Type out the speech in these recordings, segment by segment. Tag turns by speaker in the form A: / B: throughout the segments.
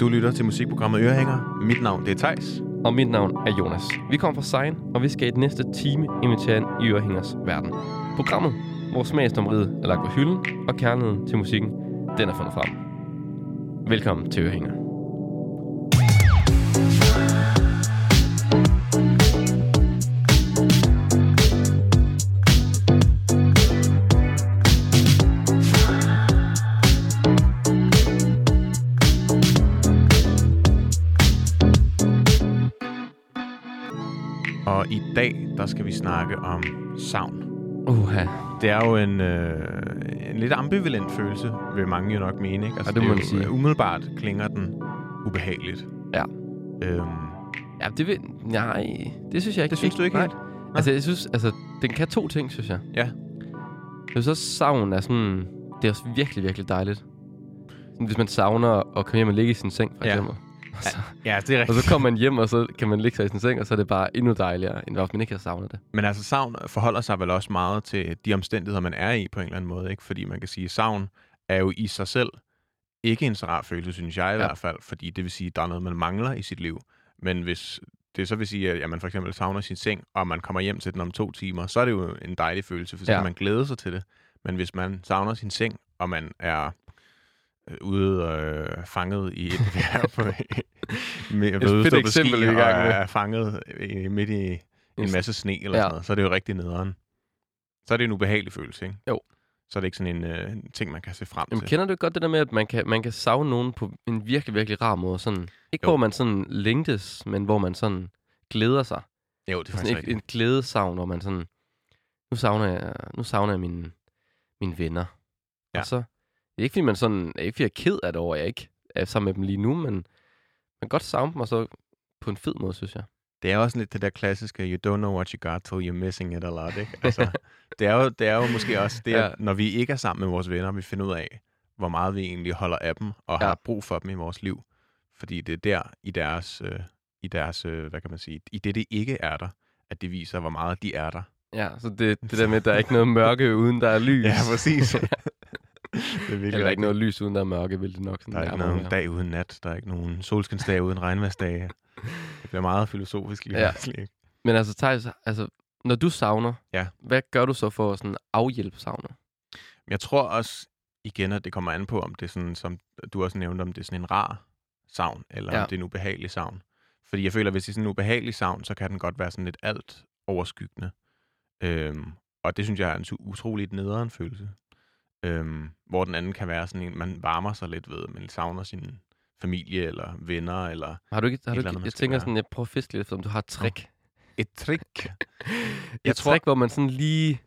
A: Du lytter til musikprogrammet Ørehænger. Mit navn det er Tejs.
B: Og mit navn er Jonas. Vi kommer fra Sein, og vi skal i den næste time invitere ind i Ørehængers verden. Programmet, hvor smagsdommeriet er lagt på hylden, og kærligheden til musikken, den er fundet frem. Velkommen til Ørehænger.
A: Og i dag, der skal vi snakke om savn.
B: Uha,
A: Det er jo en, øh, en lidt ambivalent følelse, vil mange jo nok mene. Ikke? Altså,
B: Ja, det må
A: er
B: man
A: jo- øh,
B: sige.
A: Umiddelbart klinger den ubehageligt.
B: Ja.
A: Øhm,
B: Ja, det vil... Nej, det synes jeg ikke.
A: Det synes du ikke helt?
B: Nej. Altså, jeg synes, altså, den kan to ting, synes jeg.
A: Ja.
B: Jeg synes også, savn er sådan... Det er også virkelig, virkelig dejligt. Sådan, hvis man savner at komme hjem og ligge i sin seng, for
A: Ja.
B: eksempel. Og så,
A: ja, altså, det er
B: og
A: rigtigt.
B: så kommer man hjem, og så kan man ligge sig i sin seng, og så er det bare endnu dejligere, end hvis man ikke har savnet det.
A: Men altså, savn forholder sig vel også meget til de omstændigheder, man er i på en eller anden måde. Ikke? Fordi man kan sige, at savn er jo i sig selv ikke en så rar følelse, synes jeg i ja. hvert fald. Fordi det vil sige, at der er noget, man mangler i sit liv. Men hvis det så vil sige, at- at man for eksempel savner sin seng, og man kommer hjem til den om to timer, så er det jo en dejlig følelse, for så
B: Ja.
A: kan man glæde sig til det. Men hvis man savner sin seng, og man er øh, ude øh, fanget i et bjerg på med, et
B: fedt eksempel, vi er i gang med.
A: Og er fanget øh, midt i en
B: En-
A: masse sne eller ja.
B: Ja.
A: sådan noget, så er det jo rigtig nederen. Så er det en ubehagelig følelse, ikke?
B: Jo.
A: Så er det ikke sådan en øh, en ting, man kan se frem
B: Jamen,
A: til.
B: kender du ikke godt det der med, at man kan, man kan savne nogen på en virkelig, virkelig rar måde? Sådan, ikke
A: Jo.
B: jo. hvor man sådan længtes, men hvor man sådan glæder sig.
A: Jo, det er
B: sådan
A: faktisk
B: ikke
A: rigtigt.
B: en glædesavn, hvor man sådan, nu savner jeg, nu savner jeg mine, mine venner.
A: Ja.
B: Og så, det er ikke fordi man sådan, det er ikke fordi jeg er ked af det over, at jeg ikke er sammen med dem lige nu, men man kan godt savne dem, og så på en fed måde, synes jeg.
A: Det er også lidt det der klassiske, you don't know what you got till you're missing it a lot, ikke? Altså, det, er jo, det er jo måske også det, ja.
B: Ja.
A: at, når vi ikke er sammen med vores venner, vi finder ud af, hvor meget vi egentlig holder af dem, og ja.
B: Ja.
A: har brug for dem i vores liv. Fordi det er der i deres, øh, i deres øh, hvad kan man sige, i det, det ikke er der, at det viser, hvor meget de er der.
B: Ja, så det, det der med, at der er ikke noget mørke, uden der er lys.
A: Ja, præcis. det er virkelig
B: Eller
A: rigtigt.
B: ikke noget lys, uden der er mørke, vil det nok sådan
A: Der er ikke
B: nærmere
A: nogen
B: være.
A: dag uden nat. Der er ikke nogen solskinsdag uden regnværsdage. Det bliver meget filosofisk lige
B: Ja.
A: ja. pludselig.
B: Men altså, Thijs, altså, når du savner,
A: Ja.
B: hvad gør du så for at sådan afhjælpe savnet?
A: Men jeg tror også igen, at det kommer an på, om det er sådan, som du også nævnte, om det er sådan en rar savn, eller ja.
B: Ja.
A: om det er en ubehagelig savn. Fordi jeg føler, at hvis det er sådan en ubehagelig savn, så kan den godt være sådan lidt alt overskyggende. Øhm, og det synes jeg er en su- utroligt nederen følelse. Øhm, hvor den anden kan være sådan en, man varmer sig lidt ved, men savner sin familie eller venner, eller
B: Har du ikke, har
A: Et
B: du
A: eller
B: ikke
A: andet, man
B: jeg
A: skal
B: tænker
A: gøre.
B: sådan, jeg prøver at fiske lidt, efter, om du har et trick.
A: et trick.
B: Jeg et tror... trick, hvor man sådan lige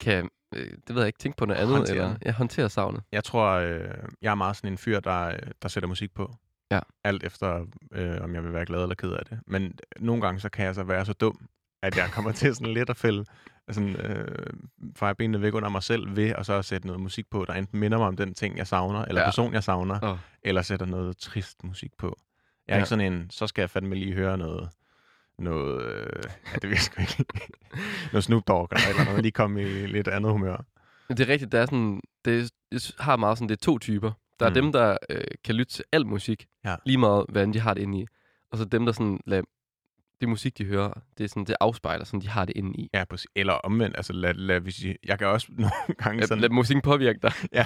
B: kan, øh, det ved jeg ikke, tænke på noget andet,
A: Håndtere
B: eller
A: det.
B: ja, håndtere savnet.
A: Jeg tror, øh, jeg er meget sådan en fyr, der, øh, der sætter musik på.
B: Ja.
A: Alt efter, øh, om jeg vil være glad eller ked af det. Men øh, nogle gange, så kan jeg så være så dum, at jeg kommer til sådan lidt at fælde sådan, øh, feje benene væk under mig selv ved, og så at sætte noget musik på, der enten minder mig om den ting, jeg savner, eller ja.
B: Ja.
A: person, jeg savner,
B: Åh.
A: eller sætter noget trist musik på. Jeg er ja.
B: Ja.
A: ikke sådan en, så skal jeg fandme lige høre noget, noget, øh, ja, det ved jeg sgu ikke, noget Snoop Dogg, eller, et eller noget, lige komme i lidt andet humør.
B: Men Det er rigtigt, der er sådan, det jeg s- har meget sådan, det er to typer. Der er
A: Mm.
B: mm. dem, der øh, kan lytte til al musik,
A: Ja.
B: lige meget hvad end de har det inde i. Og så dem, der sådan lader det musik, de hører, det, er sådan, det afspejler, sådan de har det inde i.
A: Ja, præcis. Eller omvendt, altså lad, lad, hvis I, jeg kan også nogle gange
B: Lad,
A: sådan,
B: lad musikken påvirke dig.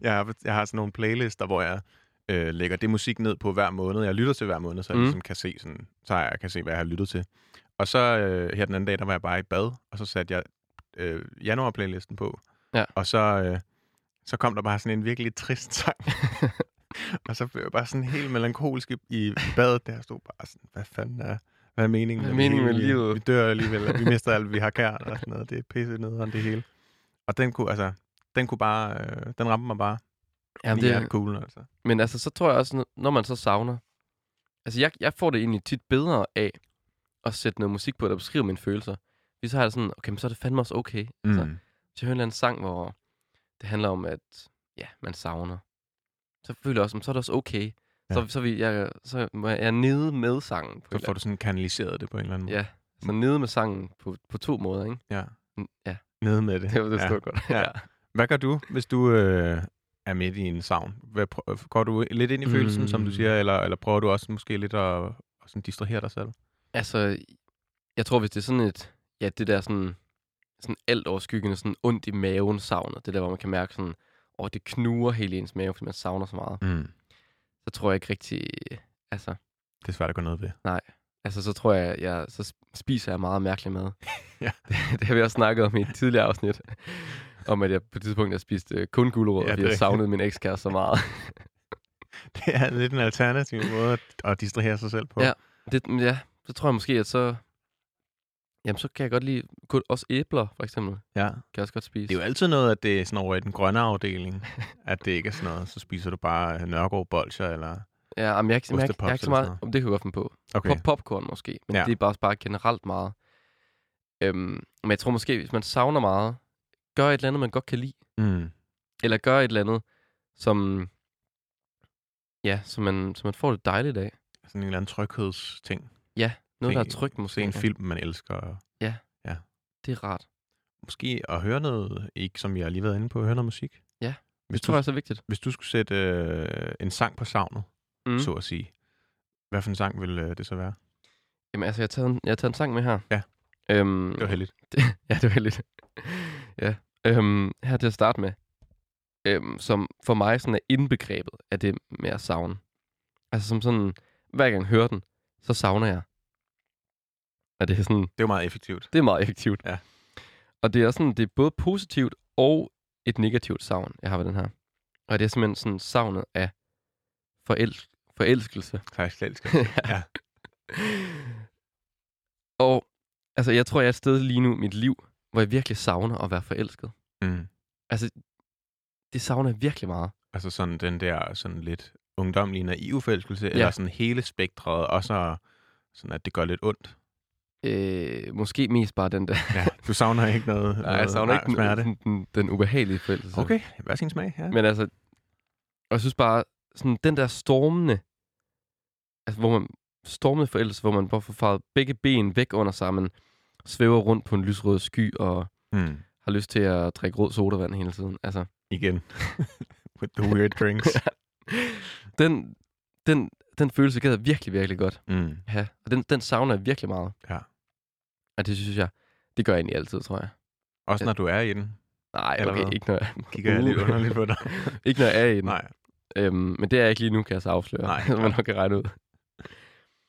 A: jeg, har, jeg har sådan nogle playlister, hvor jeg øh, lægger det musik ned på hver måned. Jeg lytter til hver måned, så jeg
B: Mm.
A: ligesom kan se, sådan, så jeg kan se, hvad jeg har lyttet til. Og så øh, her den anden dag, der var jeg bare i bad, og så satte jeg øh, januar-playlisten på.
B: Ja.
A: Og så, øh, så kom der bare sådan en virkelig trist sang. og så blev jeg bare sådan helt melankolsk i, i badet, der Jeg stod bare sådan, hvad fanden er, hvad er meningen,
B: Hvad er
A: det
B: meningen med
A: hele?
B: livet?
A: Vi dør alligevel, og vi mister alt, vi har kært og sådan noget. Det er pisse nederen, det hele. Og den kunne, altså, den kunne bare, øh, den ramte mig bare. Jamen, det er cool, altså.
B: Men altså, så tror jeg også, når- når man så savner... Altså, jeg, jeg får det egentlig tit bedre af at sætte noget musik på, der beskriver mine følelser. Fordi så har jeg sådan, okay, men så er det fandme også okay. Mm. Altså, hvis jeg hører en eller anden sang, hvor det handler om, at ja, man savner, så føler jeg også, "Men så er det også okay. Ja.
A: Ja.
B: Så, så, vil jeg, så må jeg jeg er nede med sangen. På
A: Så
B: et
A: får du sådan kanaliseret det på en eller anden måde.
B: eller andet- Ja, så nede med sangen på, på to måder, ikke?
A: Ja.
B: Mm, Ja,
A: Nede med det.
B: det var det
A: ja.
B: stod godt.
A: Ja. Hvad gør du, hvis du øh, er midt i en savn. Hvad, prø- øh, går du lidt ind i følelsen, mm. som du siger, eller, eller prøver du også måske lidt at, at sådan distrahere dig selv?
B: Altså, jeg tror, hvis det er sådan et, ja, det der sådan, sådan alt overskyggende, sådan ondt i maven savnet, det der, hvor man kan mærke sådan, åh, det knuger hele ens mave, fordi man savner så meget,
A: Mm.
B: så tror jeg ikke rigtig, altså,
A: Det er svært at gøre noget ved.
B: altså så tror jeg, jeg så spiser jeg meget mærkelig mad.
A: Ja.
B: det, det har vi også snakket om i et tidligere afsnit, om at jeg på et tidspunkt har spist øh, kun gulerod,
A: Ja,
B: ja, fordi
A: det er
B: jeg savnede min ekskæreste så meget.
A: Det er lidt en alternativ måde at, at distrahere sig selv på.
B: Ja. Det, men ja, så tror jeg måske, at så... Jamen, så kan jeg godt lide... kun- Også æbler, for eksempel, kan
A: ja.
B: jeg også godt spise.
A: Det er jo altid noget, at det er sådan over i den grønne afdeling, at det ikke er sådan noget. Så spiser du bare øh, Nørgaard bolcher, eller...
B: Ja, jamen, jeg, er ikke- jeg, jeg, jeg,
A: Ostepops
B: er ikke så
A: eller sådan
B: meget... Om det kan jeg godt finde på.
A: Okay.
B: Pop, popcorn måske, men
A: Ja.
B: ja. det er bare, bare generelt meget. Øhm, men jeg tror måske, hvis man savner meget, gør et eller andet, man godt kan lide.
A: Mm.
B: Eller gør et eller andet, som... Ja, som man, som man får det dejligt af.
A: Sådan en eller anden tryghedsting.
B: Noget,
A: Se-
B: der er trygt måske.
A: Se en film, man elsker.
B: Det er rart.
A: Måske at høre noget, ikke som jeg lige har været inde på, at høre noget musik.
B: Ja.
A: Hvis
B: Det tror
A: du,
B: jeg er så vigtigt.
A: hvis du skulle sætte øh, en sang på savnet,
B: Mm.
A: mm. så at sige, hvad for en sang ville øh, det så være?
B: Jamen, altså, jeg har taget en, jeg har taget en sang med her.
A: Ja.
B: Øhm,
A: Det var heldigt.
B: Ja, det var heldigt. ja. Øhm, her til at starte med, øhm, som for mig sådan er indbegrebet af det med at savne. Altså som sådan, hver gang jeg hører den, så savner jeg. Og det er sådan,
A: Det var meget effektivt.
B: det er meget effektivt.
A: Ja.
B: Og det er sådan, det er både positivt og et negativt savn, jeg har ved den her. Og det er simpelthen sådan savnet af forel- forelskelse.
A: Tak skal du Ja.
B: ja. Og altså, jeg tror, jeg er et sted lige nu i mit liv, hvor jeg virkelig savner at være forelsket.
A: have. mm.
B: Det savner jeg virkelig meget.
A: Altså sådan den der sådan lidt ungdomlige naive forelskelse, ja.
B: Ja.
A: eller sådan hele spektret, og så sådan, at det gør lidt ondt.
B: Øh, måske mest bare den der.
A: Ja, du savner ikke noget
B: Nej, jeg
A: noget
B: savner ikke den,
A: smerte.
B: den, den, den ubehagelige forelskelse.
A: Okay, hvad er sin smag? Ja.
B: Men altså, og jeg synes bare, sådan den der stormende, altså hvor man, stormende forældelse, hvor man bare får faret begge ben væk under sig, man svæver rundt på en lysrød sky og
A: Mm.
B: har lyst til at drikke rød sodavand hele tiden. Altså,
A: Igen. With the weird drinks.
B: den, den, den følelse gad jeg virkelig, virkelig godt
A: mm.
B: have. Og den, den savner jeg virkelig meget.
A: Ja.
B: Og det synes jeg, det gør jeg egentlig altid, tror jeg.
A: Også når du er i den,
B: Nej,
A: Eller
B: okay,
A: hvad?
B: ikke når jeg,
A: kigger jeg lidt
B: Uh.
A: underligt på dig.
B: ikke når jeg er i den.
A: Nej.
B: Øhm, men det er jeg ikke lige nu, kan jeg så afsløre.
A: Nej,
B: som man nok kan regne ud.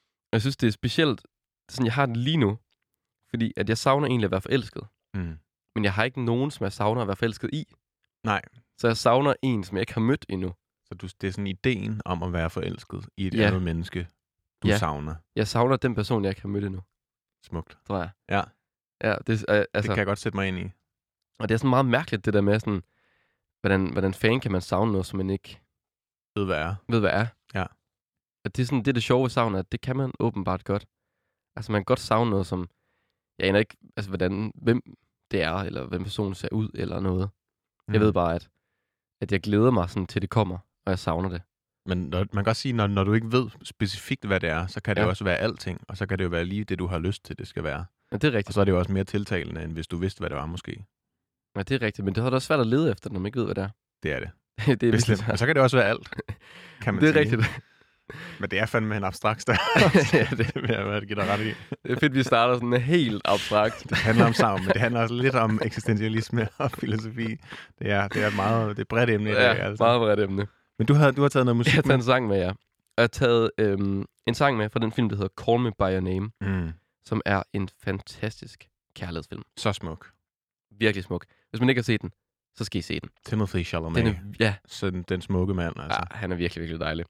B: Og jeg synes, det er specielt, sådan jeg har det lige nu, fordi at jeg savner egentlig at være forelsket.
A: Mm.
B: Men jeg har ikke nogen, som jeg savner at være forelsket i.
A: Nej.
B: Så jeg savner en, som jeg ikke har mødt endnu.
A: Så du, det er sådan ideen om at være forelsket i et ja.
B: Ja.
A: andet menneske, du ja.
B: Ja.
A: savner.
B: Jeg savner den person, jeg ikke har mødt endnu,
A: Smukt.
B: tror jeg.
A: Ja.
B: Ja, det, øh,
A: Altså,
B: altså,
A: det kan jeg godt sætte mig ind i.
B: Og det er sådan meget mærkeligt, det der med sådan, hvordan, hvordan fanden kan man savne noget, som man ikke
A: Ved hvad er.
B: ved, hvad er.
A: Ja.
B: At det er sådan, det er det sjove ved savn, at det kan man åbenbart godt. Altså man kan godt savne noget, som, jeg aner ikke, altså hvordan, hvem det er, eller hvem personen ser ud, eller noget. Mm. Jeg
A: Mhm.
B: ved bare, at, at jeg glæder mig sådan, til det kommer, og jeg savner det.
A: Men når, man kan også sige, når, når du ikke ved specifikt, hvad det er, så kan det ja.
B: Ja.
A: også være alting, og så kan det jo være lige det, du har lyst til, det skal være.
B: Ja, det er
A: Og
B: rigtigt.
A: så er det jo også mere tiltalende, end hvis du vidste, hvad det var måske.
B: Ja, det er rigtigt, men det er da også svært at lede efter, når man ikke ved, hvad det er.
A: Det er det.
B: det er,
A: det
B: virkelig
A: er Men
B: svært.
A: så kan det også være alt, kan man
B: det er
A: sige.
B: rigtigt.
A: Men det er fandme en abstrakt størrelse. ja, det vil jeg være- give dig ret i.
B: Det er fedt, vi starter sådan helt abstrakt.
A: Det handler om savn, men det handler også lidt om eksistentialisme og filosofi. Det er, det er et meget det er et bredt emne i dag.
B: Ja,
A: altså.
B: meget bredt emne.
A: Men du har, du har taget noget musik
B: Jeg har taget
A: med.
B: en sang med jer. Og jeg har taget øhm, en sang med fra den film, der hedder Call Me By Your Name,
A: Mm,
B: som er en fantastisk kærlighedsfilm.
A: så smuk.
B: Virkelig smuk. Hvis man ikke har set den, så skal I se den.
A: Timothy
B: den
A: Chalamet.
B: er,
A: Den,
B: ja,
A: sådan, den smukke mand, altså.
B: altså. ja, han er virkelig, virkelig dejlig.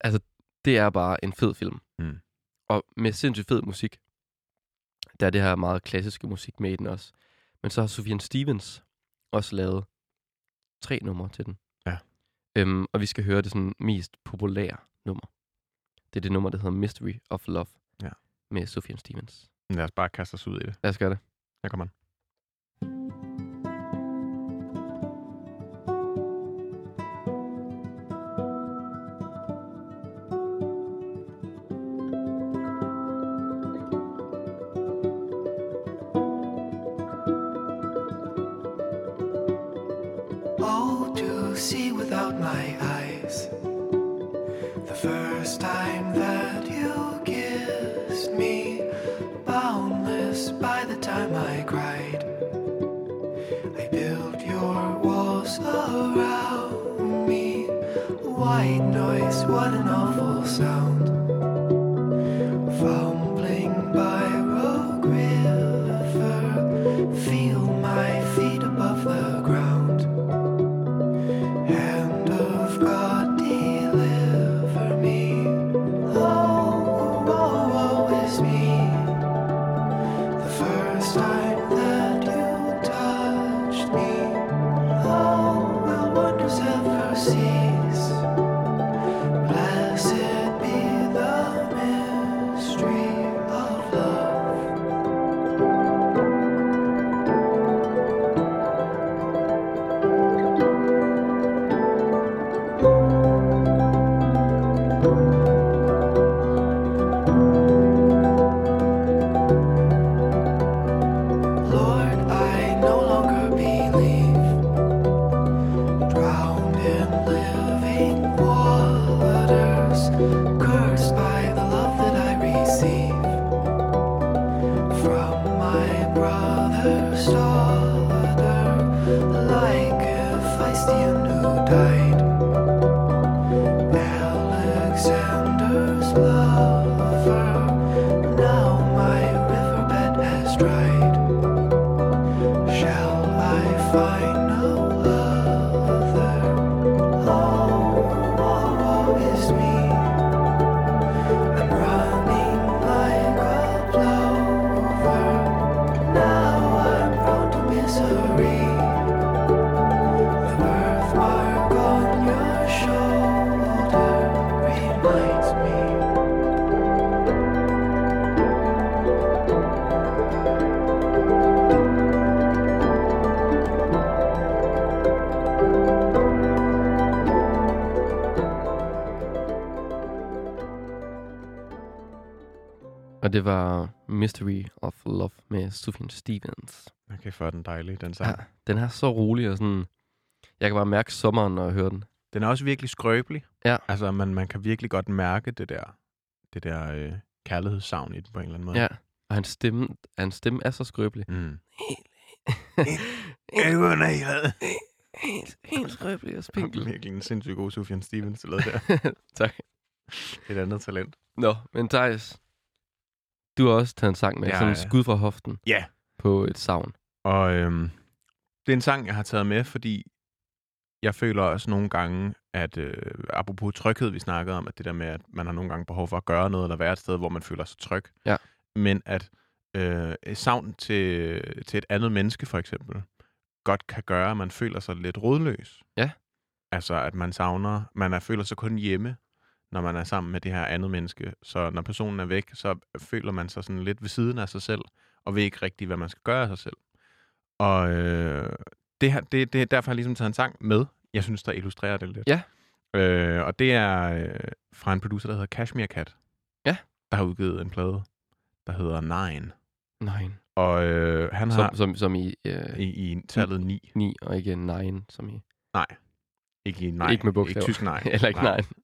B: Altså, det er bare en fed film.
A: Mm.
B: Og med sindssygt fed musik. Der er det her meget klassiske musik med i den også. Men så har Sufjan Stevens også lavet tre numre til den.
A: Ja.
B: Øhm, og vi skal høre det sådan mest populære nummer. Det er det nummer, der hedder Mystery of Love.
A: Ja.
B: Med Sufjan Stevens.
A: Ja. Lad os bare kaste os ud i det.
B: Lad os gøre det.
A: Her kommer han.
C: Oh, to
D: see without my eyes. The first time that you kissed me, boundless by the time I cried. I built your walls around me. White noise, what an awful sound. Fumbling by Rogue River, feel my feet above the ground. Hand of God, deliver me. Oh, woe is me. The first time that you touched me, oh, will wonders ever cease? Blessed be the mystery of love. Lord, I no longer believe. Drowned in living waters, cursed by the love that I receive from my brother's daughter, like a Phystian who died. Alexander's lover, now my riverbed has dried. Shall I find no other? Oh, woe is me. I'm running like a plover. Now I'm prone to misery. The birthmark on your shoulder reminds me.
B: Og det var Mystery of Love med Sufjan Stevens.
A: Okay, for den dejlig, den
B: Ja.
A: sang.
B: Den er så rolig og sådan... Jeg kan bare mærke sommeren, når jeg hører den.
A: Den er også virkelig skrøbelig.
B: Ja.
A: Altså, man, man kan virkelig godt mærke det der, det der øh, kærlighedssavn i den på en eller anden måde.
B: Ja. Og hans stemme, hans stemme er så skrøbelig.
A: Mm. Ja, det var en
B: helt, helt skrøbelig og
A: Det er virkelig en sindssygt god Sufjan Stevens, der lavede der.
B: tak.
A: Et andet talent.
B: Nå, men Thijs, du har også taget en sang med,
A: Ja,
B: ja, sådan en
A: ja.
B: skud fra hoften
A: Ja.
B: på et savn.
A: Og øhm, det er en sang, jeg har taget med, fordi jeg føler også nogle gange, at øh, apropos tryghed, vi snakkede om, at det der med, at man har nogle gange behov for at gøre noget, eller være et sted, hvor man føler sig tryg.
B: Ja.
A: Men at øh, et savn til, til et andet menneske, for eksempel, godt kan gøre, at man føler sig lidt rodløs.
B: Ja.
A: Altså, at man savner, man er, føler sig kun hjemme, når man er sammen med det her andet menneske. Så når personen er væk, så føler man sig sådan lidt ved siden af sig selv, og ved ikke rigtig, hvad man skal gøre af sig selv. Og øh, det, her, det, det er derfor, jeg har ligesom taget en sang med, jeg synes, der illustrerer det lidt.
B: Ja.
A: Øh, og det er øh, fra en producer, der hedder Cashmere Cat.
B: Ja.
A: Der har udgivet en plade, der hedder Nine.
B: Nej.
A: Og øh, han
B: Som,
A: har
B: som, som i øh,
A: i, i tallet 9.
B: 9, og ikke 9, som i...
A: Ikke i nej.
B: Ikke med bogstaver.
A: Ikke tysk nej.
B: Eller ikke 9.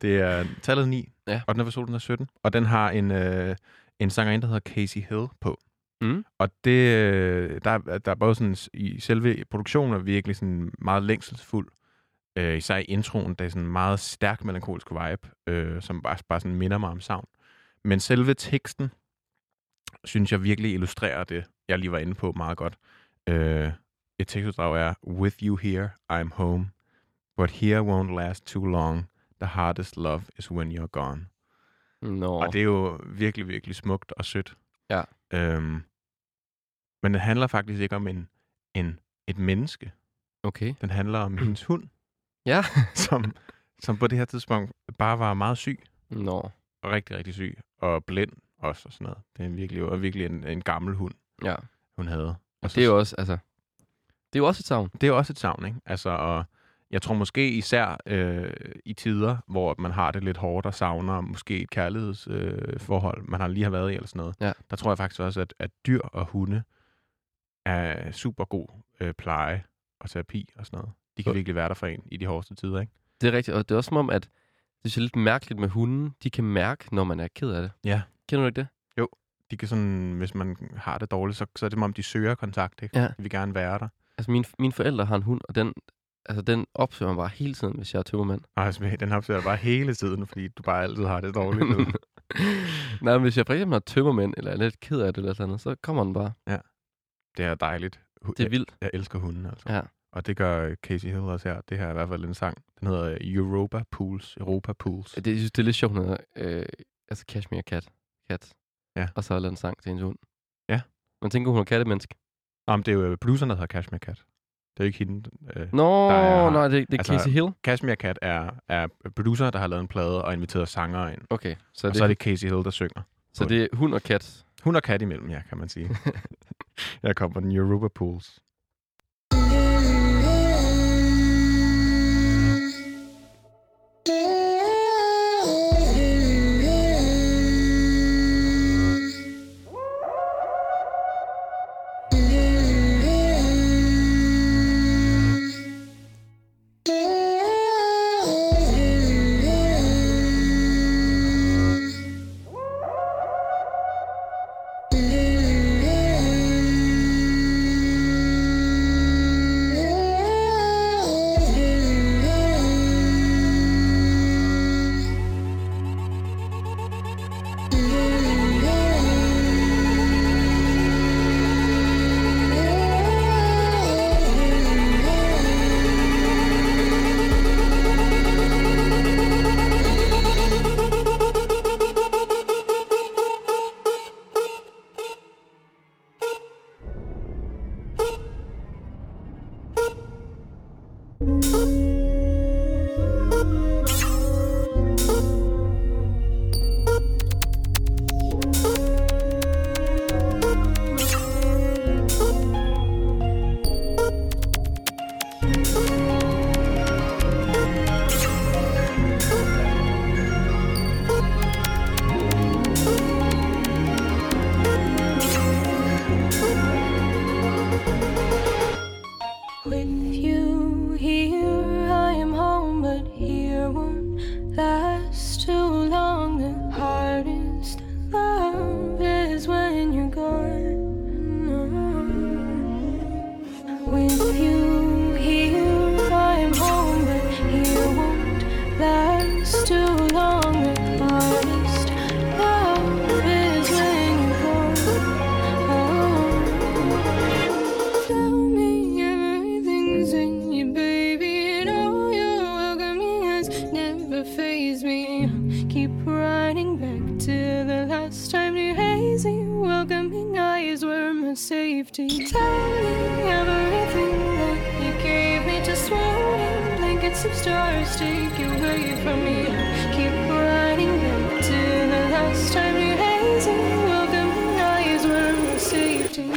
A: Det er tallet 9,
B: Ja.
A: og den er fra 2017. Og den har en, øh, en sangerinde, der hedder Casey Hill på.
B: Mm.
A: Og det, øh, der, er- der er både sådan, s- i selve produktionen er virkelig sådan meget længselsfuld. Øh, især i introen, der er sådan en meget stærk melankolsk vibe, øh, som bare, bare sådan minder mig om savn. Men selve teksten, synes jeg virkelig illustrerer det, jeg lige var inde på meget godt. Øh, et tekstuddrag er, With you here, I'm home. But here won't last too long. The hardest love is when you're gone.
B: Nå.
A: Og det er jo virkelig, virkelig smukt og sødt.
B: Ja.
A: Øhm, men det handler faktisk ikke om en, en, et menneske.
B: Okay.
A: Den handler om hendes hund,
B: Ja.
A: som, som på det her tidspunkt bare var meget syg.
B: Nå.
A: Og rigtig, rigtig syg. Og blind også og sådan noget. Det er virkelig, og virkelig en, en gammel hund,
B: Ja.
A: hun havde.
B: Og det er jo også, altså... Det er jo også et savn.
A: det er jo også et savn, ikke? Altså, og jeg tror måske især øh, i tider, hvor man har det lidt hårdt og savner måske et kærlighedsforhold, øh, forhold, man har lige har været i eller sådan noget.
B: Ja.
A: Der tror jeg faktisk også, at, at dyr og hunde er super god øh, pleje og terapi og sådan noget. De kan virkelig være der for en i de hårdeste tider, ikke?
B: Det er rigtigt, og det er også som om, at det er lidt mærkeligt med hunden. De kan mærke, når man er ked af det.
A: Ja.
B: Kender du ikke det?
A: De kan sådan, hvis man har det dårligt, så, så er det som om, de søger kontakt, ikke?
B: Ja.
A: De vil gerne være der.
B: Altså, mine, mine forældre har en hund, og den, altså, den opsøger mig bare hele tiden, hvis jeg er tømmermand.
A: Og altså, den opsøger dig bare hele tiden, fordi du bare altid har det dårligt. du ved.
B: Nej, men hvis jeg for eksempel har tømmermænd, eller er lidt ked af det eller sådan noget, så kommer den bare.
A: det er dejligt. Hu-
B: Det er vildt.
A: Jeg elsker hunden, altså.
B: Ja.
A: Og det gør øh, Casey Hill også her. Det her er i hvert fald en sang. Den hedder øh, Europa Pools. Europa Pools.
B: Det, jeg synes, det er lidt sjovt, når øh, altså Cashmere Cat, cat
A: Ja.
B: og så har lavet en sang til hendes hund.
A: Ja.
B: Man tænker, hun er kattemenneske.
A: Nå, men det er jo øh, produceren, der hedder Cashmere Cat. Det er jo ikke hende. Øh,
B: Nå,
A: er-
B: er, nej, det, det er
A: altså-
B: altså, Casey Hill.
A: Cashmere Cat er, er producer, der har lavet en plade og inviteret sangere ind.
B: Okay, så,
A: Og
B: det,
A: så er det Casey Hill, der synger.
B: så det er hund og kat.
A: Hun og kat imellem, ja, kan man sige. Jeg kommer den Europa Pools.
E: With you here, I am home, but here won't last too long. The hardest love is when you're gone. With you here, I am home, but here won't last too long. The hardest love is when you're Oh. gone. Tell me everything's in you, baby, and all your welcoming eyes never faze me. Keep riding back to the last time your hazy welcoming eyes were my safety. Tell me everything that you gave me, just swirling blankets of stars take you away from me. Keep riding back to the last time your hazy welcoming eyes were my safety.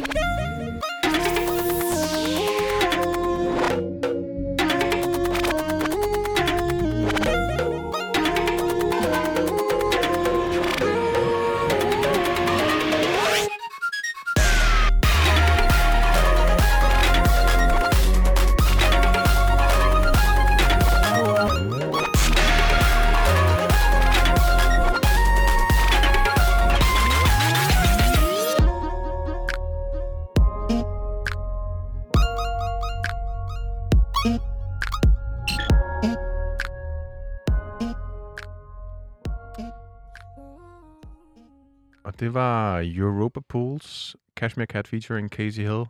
A: Og det var øh, Europa Pools, Cashmere Cat featuring Casey Hill.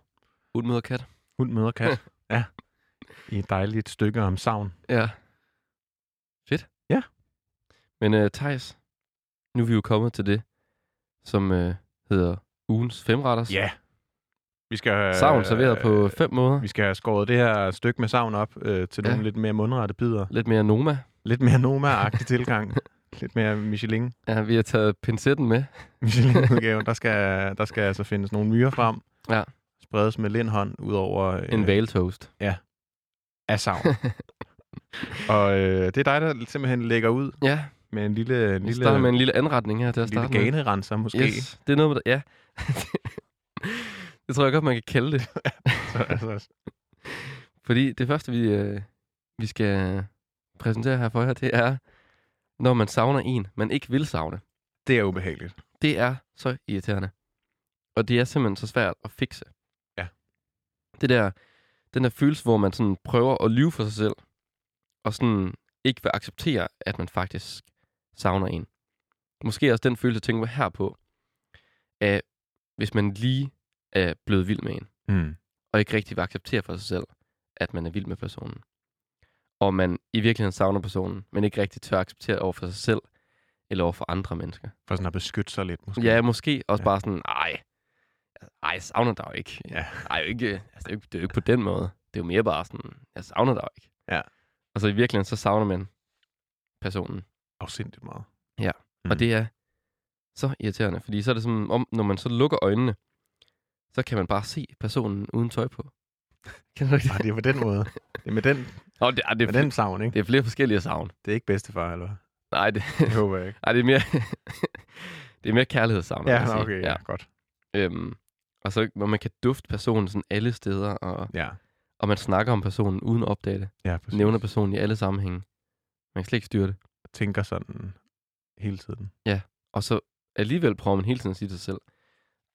B: Hund møder kat.
A: Hund møder kat. ja. I et dejligt stykke om savn.
B: Ja. Fedt.
A: Ja.
B: Men uh, Thijs, nu er vi jo kommet til det, som uh, hedder ugens femretters.
A: Ja. Vi skal øh, have...
B: Savn serveret på fem måder.
A: Vi skal have skåret det her stykke med savn op øh, til
B: Ja.
A: nogle lidt mere mundrette bidder.
B: Lidt mere Noma.
A: Lidt mere Noma-agtig tilgang. Lidt mere Michelin.
B: Ja, vi har taget pincetten med.
A: Michelin-udgaven. Der skal, der skal altså findes nogle myrer frem.
B: Ja.
A: Spredes med lindhånd ud over... Øh,
B: En valtoast.
A: Af savn. Og øh, det er dig, der simpelthen lægger ud
B: ja,
A: med en lille... En
B: vi
A: lille
B: starter med en lille anretning her til at
A: en lille
B: starte med.
A: ganerenser måske.
B: Yes, det er noget med det. Ja. det tror jeg godt, man kan kalde det.
A: Så, altså,
B: Fordi det første, vi, øh, vi skal præsentere her for jer, det er, når man savner en, man ikke vil savne.
A: Det er ubehageligt.
B: Det er så irriterende. Og det er simpelthen så svært at fikse.
A: Ja.
B: Det der, den der følelse, hvor man sådan prøver at lyve for sig selv, og sådan ikke vil acceptere, at man faktisk savner en. Måske også den følelse, tænker jeg her på, af hvis man lige er blevet vild med en,
A: Mm.
B: og ikke rigtig vil acceptere for sig selv, at man er vild med personen. Og man i virkeligheden savner personen, men ikke rigtig tør acceptere over for sig selv, eller over for andre mennesker.
A: For sådan at beskytte sig lidt, måske.
B: Ja, måske også
A: Ja.
B: ja. bare sådan, ej, ej, jeg savner dig jo ikke.
A: Ja.
B: Ej, jo ikke, altså, det, er jo ikke, det er jo ikke på den måde. Det er jo mere bare sådan, jeg savner dig jo ikke.
A: Ja.
B: Og så i virkeligheden, så savner man personen.
A: Afsindigt meget.
B: Mm.
A: Mm.
B: Og det er så irriterende, fordi så er det som om, når man så lukker øjnene, så kan man bare se personen uden tøj på. Kan du ikke
A: Ej,
B: det?
A: det er på den måde. Det er med den,
B: Nå, det, er, det, er,
A: med
B: fl-
A: den savn, ikke?
B: det er flere forskellige savn.
A: Det er ikke bedstefar, eller hvad?
B: Nej, det,
A: Det håber jeg ikke.
B: ej, det er mere, det er mere kærlighedssavn.
A: Ja,
B: vil jeg
A: nå,
B: sige.
A: okay. Ja, godt.
B: Øhm, og så hvor man kan dufte personen sådan alle steder, og,
A: Ja,
B: og man snakker om personen uden at opdage det.
A: ja præcis.
B: Nævner personen i alle sammenhænge. Man kan slet ikke styre det.
A: Tænker sådan hele tiden.
B: Og så alligevel prøver man hele tiden at sige til sig selv,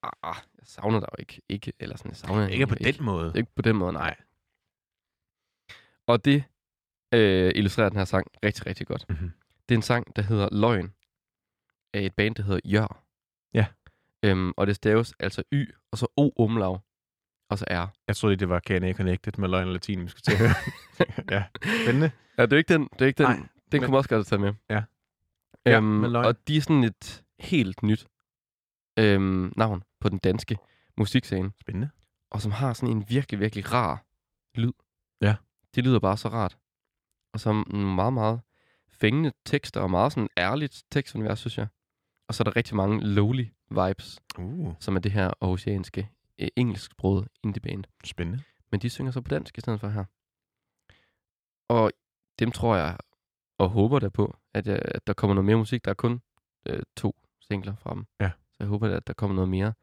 B: ah, jeg savner dig jo ikke. ikke eller sådan, jeg savner
A: Ikke
B: hende
A: på
B: jo
A: den måde.
B: Ikke på den måde, nej. Og det øh, illustrerer den her sang rigtig, rigtig godt.
A: Mhm.
B: Det er en sang, der hedder Løgn, af et band, der hedder Jør.
A: Ja.
B: Øhm, og det staves altså Y, og så O omlav, og så R.
A: Jeg troede lige, det var Can I Connected med løgn og latin, vi skulle til at høre. ja, spændende.
B: Ja, det er ikke den. Det er ikke den.
A: Nej,
B: Nej, den kunne
A: men-
B: man også godt tage med.
A: Ja. Ja,
B: Øhm,
A: med løgn.
B: og de er sådan et helt nyt øhm, navn på den danske musikscene,
A: Spændende.
B: og som har sådan en virkelig, virkelig rar lyd.
A: Ja.
B: Det lyder bare så rart. Og som nogle meget, meget fængende tekster, og meget sådan ærligt tekstunivers, synes jeg. Og så er der rigtig mange lowly vibes,
A: Uh,
B: som er det her aarhusianske, øh, engelsksprogede indie-band.
A: spændende.
B: Men de synger så på dansk i stedet for her. Og dem tror jeg, og håber der på, at, jeg, at der kommer noget mere musik. Der er kun øh, to singler fra dem.
A: Ja.
B: Så jeg håber da, at der kommer noget mere.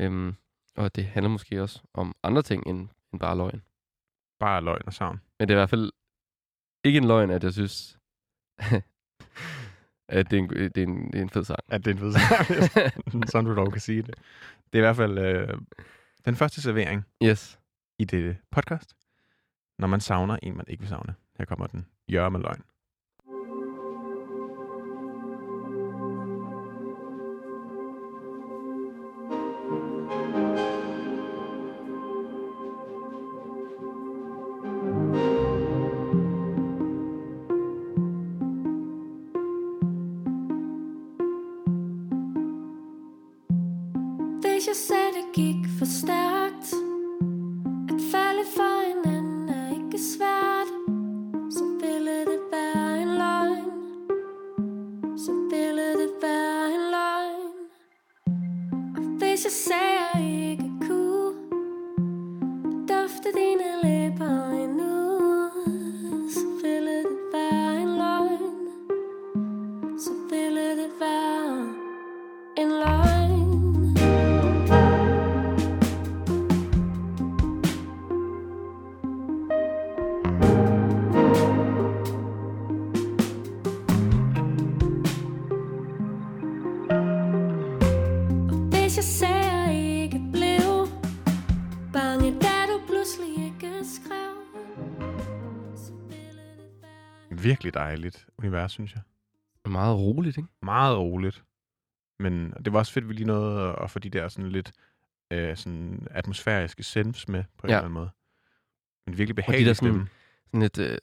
B: Øhm, og det handler måske også om andre ting end, end bare løgn.
A: Bare løgn og savn.
B: Men det er i hvert fald ikke en løgn, at jeg synes, at det er en, øh, det er en, det er en fed sang.
A: At det er en fed sang. sådan du dog kan sige det. Det er i hvert fald øh, den første servering
B: yes.
A: i dette podcast. Når man savner en, man ikke vil savne. Her kommer den. Jørge med løgn.
F: Hvis jeg sagde, det gik for stærkt At falde for en anden er ikke svært Så ville det være en løgn Så ville det være en løgn Og hvis jeg sagde, jeg ikke kunne Dufte dine læber endnu Så ville det være en løgn Så ville det være en løgn Hvis jeg sagde, jeg ikke blev bange, da du pludselig ikke skrev. så ville det være-
A: Virkelig dejligt univers, synes jeg.
B: Meget roligt, ikke?
A: Meget roligt. Men det var også fedt, at vi lige nåede at få de der sådan lidt øh, sådan atmosfæriske sense med på en
B: Ja.
A: eller anden måde. Men virkelig
B: der
A: behagelig
B: sådan-
A: stemme.
B: Sådan lidt øh,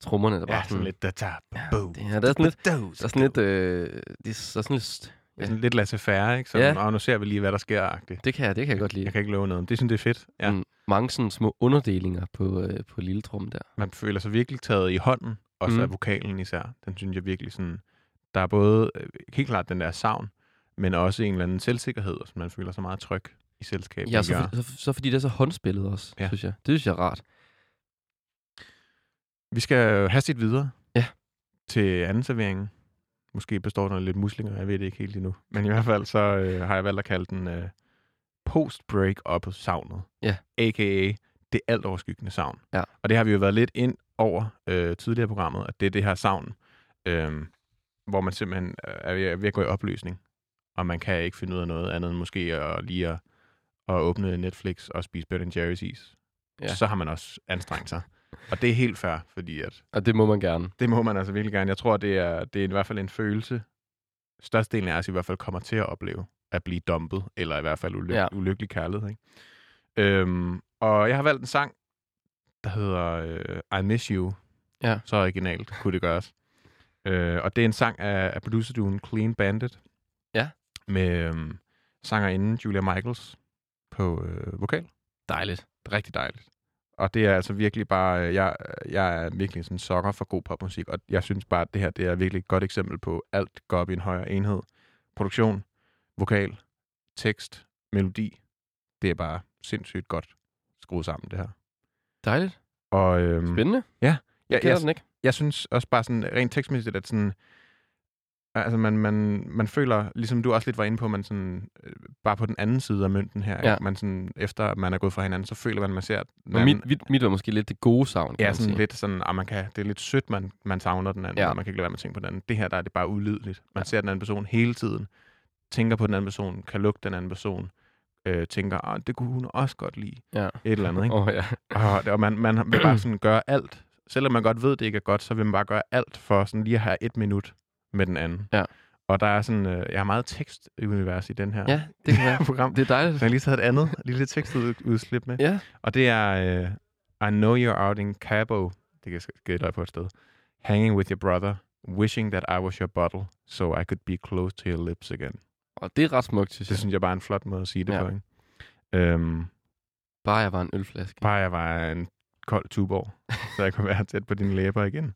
B: trommerne, der bare
A: Ja, sådan lidt da ta
B: Ja,
A: bo.
B: det- ja, der er sådan lidt- Der er sådan lidt,
A: Det
B: øh, det er sådan lidt, st-
A: er sådan lidt laissez-faire, ikke? Sådan,
B: Ja.
A: ja. nu ser vi lige, hvad der sker, -agtigt.
B: det kan jeg, det kan jeg godt lide.
A: Jeg kan ikke love noget, men det synes det er fedt. Ja.
B: Mm. Mange sådan små underdelinger på, øh, på lille trum der.
A: man føler sig virkelig taget i hånden, og så
B: Mm.
A: er vokalen især. Den synes jeg virkelig sådan, der er både øh, helt klart den der savn, men også en eller anden selvsikkerhed, og sådan, man føler sig meget tryg i selskabet.
B: Ja, så, for, så, så fordi det er så håndspillet også,
A: Ja.
B: ja. synes jeg. Det synes jeg er rart.
A: Vi skal hastigt videre
B: Ja.
A: til anden serveringen. Måske består den af lidt muslinger, jeg ved det ikke helt endnu. Men i hvert fald så øh, har jeg valgt at kalde den øh, post-break-up-savnet.
B: Ja.
A: A.k.a. det alt overskyggende savn.
B: Ja.
A: Og det har vi jo været lidt ind over øh, tidligere i programmet, at det er det her savn, øh, hvor man simpelthen øh, er ved, er ved at gå i opløsning, og man kan ikke finde ud af noget andet end måske at lige at, at åbne Netflix og spise Ben Jerry's is.
B: Ja.
A: Ja. Så har man også anstrengt sig. Og det er helt fair, fordi at
B: Og det må man gerne.
A: det må man altså virkelig gerne. Jeg tror, det er, det er i hvert fald en følelse, størstedelen af os i hvert fald kommer til at opleve, at blive dumpet, eller i hvert fald ulyk-
B: Ja.
A: ja. ulykkelig kærlighed. Ikke? Øhm, og jeg har valgt en sang, der hedder øh, I Miss You.
B: Ja.
A: Så originalt kunne det gøres. Øh, og det er en sang af, af producerduen Clean Bandit.
B: Ja.
A: Med øhm, sangerinden Julia Michaels på øh, vokal.
B: Dejligt.
A: Rigtig dejligt. Og det er altså virkelig bare, øh, jeg, jeg er virkelig sådan en sokker for god popmusik, og jeg synes bare, at det her det er virkelig et godt eksempel på alt går op i en højere enhed. Produktion, vokal, tekst, melodi. Det er bare sindssygt godt skruet sammen, det her.
B: Dejligt.
A: Og øhm,
B: Spændende. Jeg
A: jeg,
B: kender
A: jeg,
B: yes. den ikke.
A: jeg synes også bare sådan rent tekstmæssigt, at sådan, altså man, man, man føler, ligesom du også lidt var inde på, man sådan, øh, bare på den anden side af mønten her,
B: Ja.
A: ja. man sådan, efter man er gået fra hinanden, så føler man, man ser, at den
B: Men
A: anden-
B: mit, mit, mit var måske lidt det gode savn, kan
A: Ja,
B: man
A: sådan
B: sige.
A: lidt sådan, at man kan, det er lidt sødt, man, man savner den anden,
B: Ja.
A: ja. og man kan ikke lade være med at tænke på den anden. Det her, der er det bare ulideligt. Man
B: Ja.
A: ja. ser den anden person hele tiden, tænker på den anden person, kan lugte den anden person, øh, tænker, ah, det kunne hun også godt lide.
B: Ja.
A: Et eller andet, ikke?
B: Åh, oh, ja.
A: og, og man, man vil bare sådan gøre alt. Selvom man godt ved, det ikke er godt, så vil man bare gøre alt for sådan lige at have et minut med den anden.
B: Ja.
A: Og der er sådan, øh, jeg har meget tekstunivers i den her
B: ja, det kan være.
A: program.
B: Det er dejligt.
A: Så jeg har lige taget et andet lille tekstudslip med.
B: Ja.
A: Og det er uh, I know you're out in Cabo. Det kan jeg sk- gætte dig på et sted. Hanging with your brother. Wishing that I was your bottle. So I could be close to your lips again.
B: Og det er ret smukt, synes
A: Det
B: jeg.
A: synes jeg bare er en flot måde at sige det
B: Ja.
A: ja. på. Ikke? Øhm,
B: Bare jeg var en ølflaske.
A: bare jeg var en kold tuborg, så jeg kunne være tæt på dine læber igen.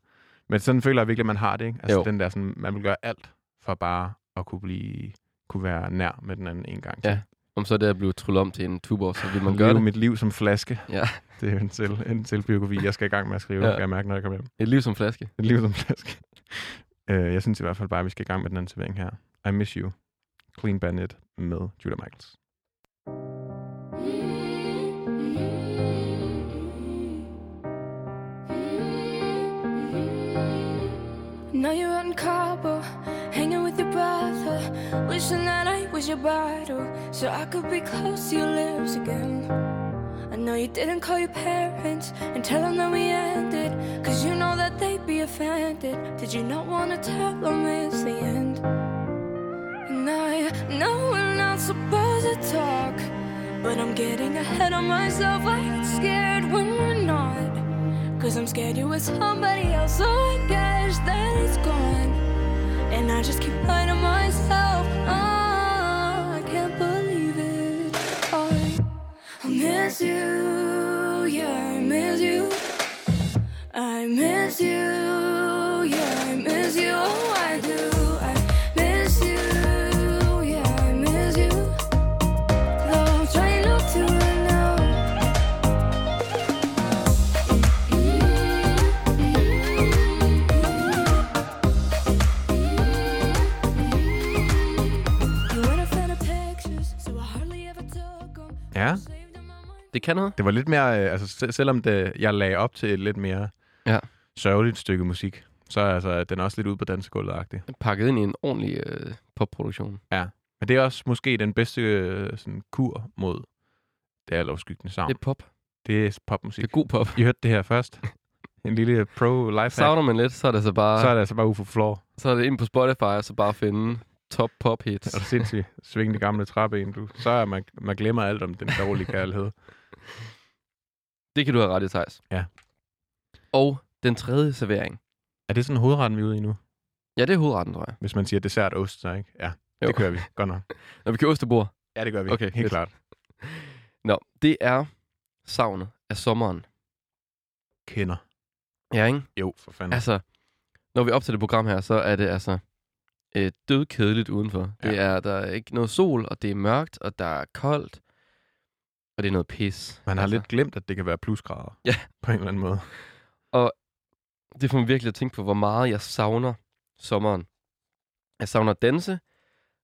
A: Men sådan føler jeg virkelig, at man har det. Ikke? Altså
B: Jo.
A: den der, sådan, man vil gøre alt for bare at kunne blive kunne være nær med den anden en gang til.
B: Ja, Om så det er blevet trullet om til en tuborg, så vil man gøre
A: Leve
B: det.
A: mit liv som flaske.
B: Ja.
A: Det er en, selv, en selvbiografi, jeg skal i gang med at skrive,
B: Ja.
A: ja. kan jeg mærke, når jeg kommer hjem.
B: Et liv som flaske.
A: Et liv som flaske. Øh, jeg synes i hvert fald bare, at vi skal i gang med den anden servering her. I miss you. Clean Bandit med Julia Michaels.
F: Now you're out in Cabo, hanging with your brother. Wishing that I was your bottle, so I could be close to your lips again. I know you didn't call your parents and tell them that we ended, cause you know that they'd be offended. Did you not wanna tell them it's the end? And I know we're not supposed to talk, but I'm getting ahead of myself. I get scared when we're not, cause I'm scared you with somebody else. So I guess that it's gone, and I just keep lying to myself. Ah, I can't believe it. I, I miss you, yeah, I miss you. I miss you, yeah, I miss you, oh, I do. I miss you, yeah, I miss you. Though I'm trying not to now. You went and found the pictures, so I hardly ever took 'em.
A: Ja,
F: Saved 'em on my
B: Det kan noget.
A: det var lidt mere... øh, Altså, se- selvom det, jeg lagde op til et lidt mere
B: Ja.
A: sørgeligt stykke musik, så er altså, den også lidt ud på dansegulvet-agtig.
B: Pakket ind i en ordentlig øh, popproduktion.
A: Men det er også måske den bedste øh, sådan, kur mod det er lovskyggende savn.
B: Det er pop.
A: Det er
B: Det
A: popmusik.
B: er god pop.
A: I hørte det her først. En lille pro-lifehack.
B: Savner man lidt, så er det så bare
A: Så er det altså bare UFO Floor.
B: så er det ind på Spotify, og så bare finde top pop hits.
A: Er du sindssyg? Sving det gamle træben, du. Så er man, man glemmer alt om den dårlige kærlighed.
B: Det kan du have ret i, Thijs.
A: Ja.
B: Og den tredje servering.
A: Er det sådan hovedretten, vi er ude i nu?
B: Ja, det er hovedretten, tror jeg.
A: Hvis man siger dessert ost, så ikke? Ja,
B: Jo.
A: jo. det kører vi. Godt nok.
B: Når vi kører ostebord.
A: Ja, det gør vi.
B: Okay,
A: Helt
B: fedt.
A: klart.
B: Nå, det er savnet af sommeren.
A: Kender.
B: Ja, ikke?
A: Jo, for fanden. Altså,
B: Altså, når vi optager det program her, så er det altså øh, dødkedeligt udenfor. Ja. Det er, der er ikke noget sol, og det er mørkt, og der er koldt, og det er noget pis.
A: man har
B: altså,
A: lidt glemt, at det kan være plusgrader.
B: Ja.
A: På en eller anden måde.
B: Det får mig virkelig at tænke på, hvor meget jeg savner sommeren. Jeg savner at danse,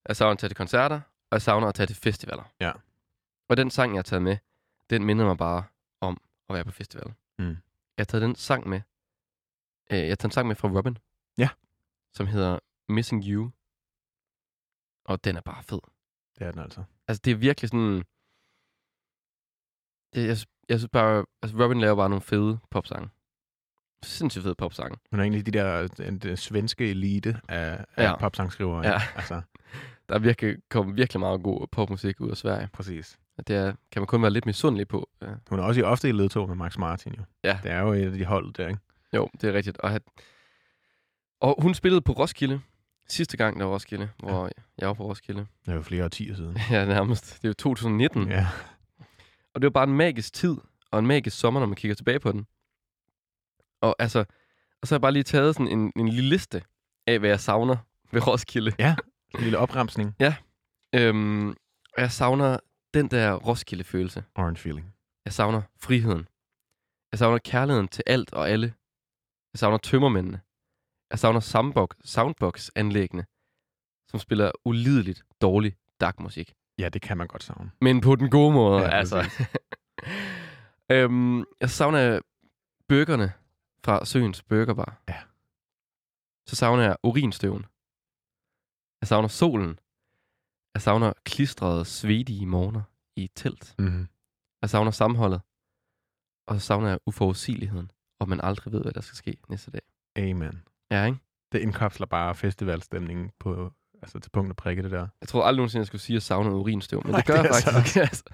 B: jeg savner at tage til koncerter, og jeg savner at tage til festivaler.
A: Ja.
B: Og den sang, jeg har taget med, den minder mig bare om at være på festival.
A: Mm.
B: Jeg har taget den sang med. Øh, jeg har taget en sang med fra Robin.
A: Ja.
B: Som hedder Missing You. Og den er bare fed.
A: Det er den altså.
B: Altså, det er virkelig sådan... Det, jeg, jeg synes bare... Altså, Robin laver bare nogle fede popsange. Sindssygt fede popsange.
A: Hun er egentlig de der den, den svenske elite af, af
B: Ja.
A: popsangskrivere.
B: Ja.
A: Altså,
B: Der er virkelig, kom virkelig meget god popmusik ud af Sverige.
A: præcis.
B: Og det er, kan man kun være lidt misundelig på. Ja.
A: Hun er også i ofte i ledtog med Max Martin jo.
B: Ja.
A: Det er jo et af de hold der, ikke?
B: Jo, det er rigtigt. Og, han... og hun spillede på Roskilde. Sidste gang, der var Roskilde, hvor jeg var på Roskilde.
A: Det er jo flere årtier siden.
B: Ja, nærmest. Det er jo 2019.
A: Ja.
B: Og det var bare en magisk tid, og en magisk sommer, når man kigger tilbage på den. Og altså, og så har jeg bare lige taget sådan en, en lille liste af, hvad jeg savner ved Roskilde.
A: En lille opremsning.
B: Øhm, og jeg savner den der Roskilde-følelse.
A: Orange Feeling.
B: Jeg savner friheden. Jeg savner kærligheden til alt og alle. Jeg savner tømmermændene. Jeg savner soundbox- soundbox-anlæggene, som spiller ulideligt dårlig darkmusik.
A: Ja, det kan man godt savne.
B: Men på den gode måde,
A: Ja,
B: ja, altså. øhm, jeg savner bøgerne fra Søens Burgerbar.
A: Ja.
B: Så savner jeg urinstøven. Jeg savner solen. Jeg savner klistrede, svedige morgener i et telt.
A: Mm-hmm.
B: Jeg savner sammenholdet. Og så savner jeg uforudsigeligheden. Og man aldrig ved, hvad der skal ske næste dag.
A: Amen.
B: Ja, ikke?
A: Det indkapsler bare festivalstemningen på, altså til punkt og prikke det der.
B: Jeg tror aldrig nogensinde, jeg skulle sige, at jeg savner urinstøv. Men
A: Nej,
B: det gør
A: det
B: jeg
A: er så
B: faktisk. Altså,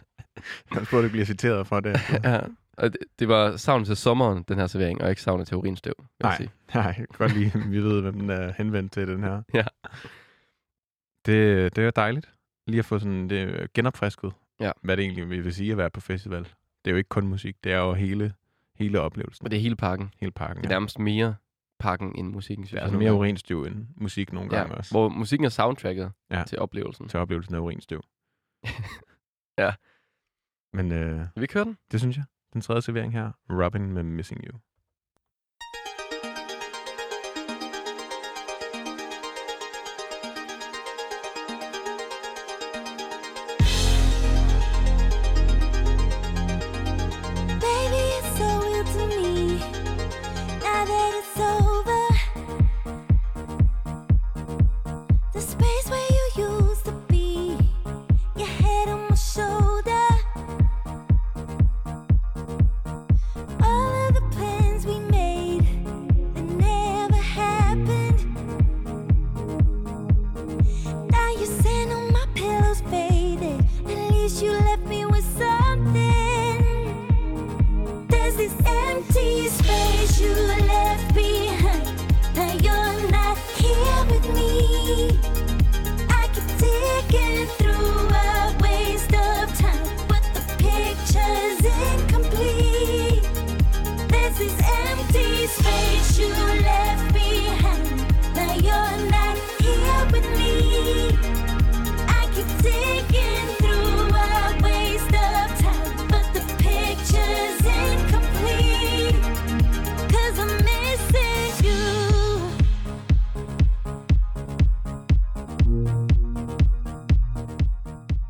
A: Jeg spurgte, at blive citeret for det.
B: ja. Og det, det var savnet til sommeren, den her servering, og ikke savnet til urinstøv. vil jeg
A: Nej.
B: sige.
A: Nej, jeg kan godt lige, vi ved, hvem den er henvendt til, den her.
B: Ja.
A: Det, det er dejligt. Lige at få sådan det genopfrisket,
B: Ja.
A: hvad det egentlig vil vil sige at være på festival. Det er jo ikke kun musik, det er jo hele, hele oplevelsen,
B: Men det er hele pakken.
A: hele pakken.
B: Det er
A: ja.
B: nærmest mere pakken end musikken, synes
A: det er
B: jeg.
A: altså
B: nogle
A: mere
B: gange.
A: urinstøv end musik nogle gange
B: ja,
A: også.
B: Hvor musikken er soundtracket
A: Ja.
B: ja. til oplevelsen.
A: Til oplevelsen af urinstøv.
B: Ja.
A: Men øh,
B: Vil vi køre den?
A: det synes jeg. Den tredje servering her, Robin med Missing You.
F: Baby, it's so real to me. Now that it's over, the space where you used to be, your head on my shoulder. All of the plans we made that never happened. Now you sand on my pillows faded. At least you left me with something. There's this empty space you left behind. Now you're not here with me. I keep digging through a waste of time, but the picture's incomplete. There's this empty space you left behind. Now you're not here with me. I keep digging through a waste of time, but the picture's incomplete. Cause I'm missing you.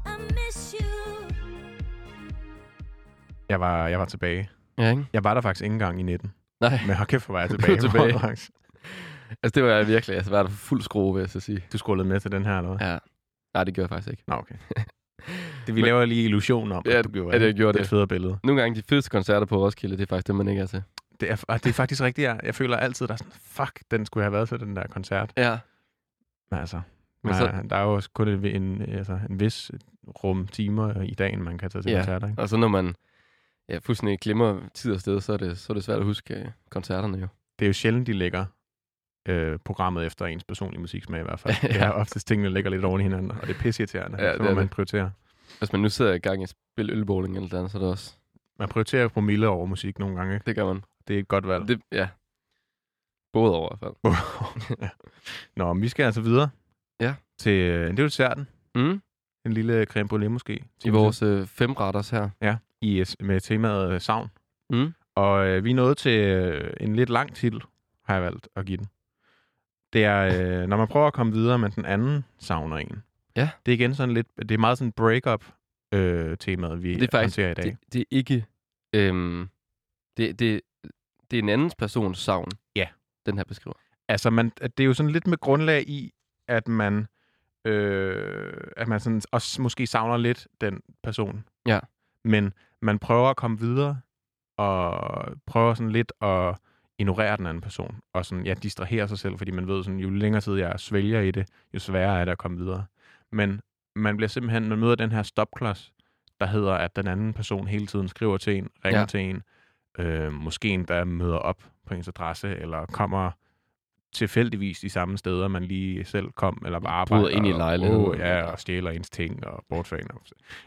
F: I miss you.
A: Jeg var, jeg var tilbage.
B: Ja, ikke?
A: Jeg var der faktisk ikke engang i 19.
B: Nej,
A: Men hold kæft, hvor var jeg
B: Du
A: tilbage.
B: var tilbage.
A: Hvor var jeg-
B: altså det var jeg virkelig. Altså var der fuld skrue, vil jeg så sige.
A: Du scrollede med til den her, eller hvad?
B: Ja. Nej, det gjorde jeg faktisk ikke.
A: Nå, okay. Det, vi
B: Men-
A: laver lige illusion om,
B: Ja,
A: at du gjorde
B: at jeg gjorde
A: Det er et
B: det.
A: federe billede.
B: Nogle gange de fedeste koncerter på Roskilde, det er faktisk det, man ikke er til.
A: Det er, og det er faktisk rigtigt. Jeg, jeg føler altid, der er sådan, fuck, den skulle have været til den der koncert.
B: Ja.
A: Men altså,
B: Men
A: Men
B: så-
A: så... der er jo også kun en, en, altså, en vis rum timer i dagen, man kan tage til
B: Ja.
A: koncerter. Ikke?
B: Og så når man ja, fuldstændig glemmer tid og sted, så er det, så er det svært at huske øh, koncerterne jo.
A: Det er jo sjældent, de lægger øh, programmet efter ens personlige musiksmag i hvert fald.
B: Ja.
A: Det er oftest tingene ligger lidt oven i hinanden, og det er pisseirriterende.
B: Ja,
A: Ja, så
B: det
A: må
B: er
A: man
B: det.
A: prioritere.
B: Hvis man nu sidder i gang i spil ølbowling eller andet, så er det også...
A: Man prioriterer jo promille over musik nogle gange. Ikke?
B: Det gør man.
A: Det er et godt valg.
B: Det, ja. Både over i hvert fald.
A: Ja. Nå, men vi skal altså videre
B: Ja.
A: til, øh, det er jo desserten,
B: Mm?
A: en lille creme brulee måske.
B: I vores øh, femretters her.
A: Ja, i, øh, med temaet øh, savn.
B: Mm?
A: Og øh, vi er nået til øh, en lidt lang titel, har jeg valgt at give den. Det er, øh, når man prøver at komme videre, men den anden savner en.
B: Ja.
A: Det er igen sådan lidt, det er meget sådan break-up øh, temaet, vi
B: Det er faktisk-
A: håndterer i dag.
B: Det, det er ikke øhm, Det, det, det er en andens persons savn,
A: Ja.
B: den her beskriver.
A: Altså, man, at det er jo sådan lidt med grundlag i, at man, øh, at man sådan også måske savner lidt den person.
B: Ja.
A: Men man prøver at komme videre, og prøver sådan lidt at ignorere den anden person, og sådan, ja, distrahere sig selv, fordi man ved, sådan, jo længere tid jeg svælger i det, jo sværere er det at komme videre. Men man bliver simpelthen, man møder den her stopklods, der hedder, at den anden person hele tiden skriver til en, ringer
B: Ja.
A: ja. til en, øh, måske en, der møder op på ens adresse, eller kommer tilfældigvis de samme steder, man lige selv kom, eller bare arbejder.
B: Bryder ind i
A: og-
B: lejligheden.
A: Åh, ja, og stjæler ens ting, og bortfanger, og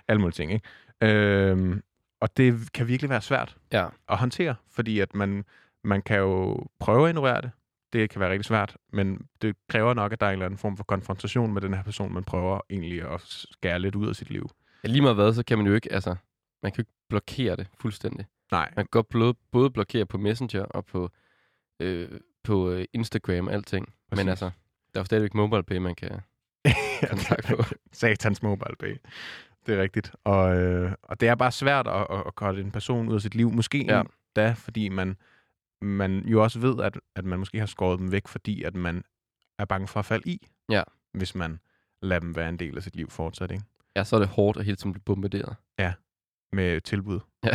A: alle mulige ting, ikke? Øhm, og det kan virkelig være svært
B: Ja.
A: at håndtere, fordi at man, man kan jo prøve at ignorere det. Det kan være rigtig svært, men det kræver nok, at der er en eller anden form for konfrontation med den her person, man prøver egentlig at skære lidt ud af sit liv.
B: Ja, Lige meget hvad, så kan man jo ikke, altså, man kan jo ikke blokere det fuldstændig.
A: Nej,
B: Man kan godt blå- både blokere på Messenger og på, øh, på øh, Instagram og alting. Præcis. Men
A: Præcis.
B: altså, der er jo stadigvæk MobilePay, man kan kontakte på.
A: satans mobile pay. Det er rigtigt. Og, øh, og det er bare svært at, at, at korte en person ud af sit liv. Måske
B: Ja.
A: ja. da, fordi man, man jo også ved, at, at man måske har skåret dem væk, fordi at man er bange for at falde i,
B: Ja.
A: hvis man lader dem være en del af sit liv fortsat. Ikke?
B: Ja, så er det hårdt at hele tiden blive bombarderet.
A: Med tilbud.
B: Ja.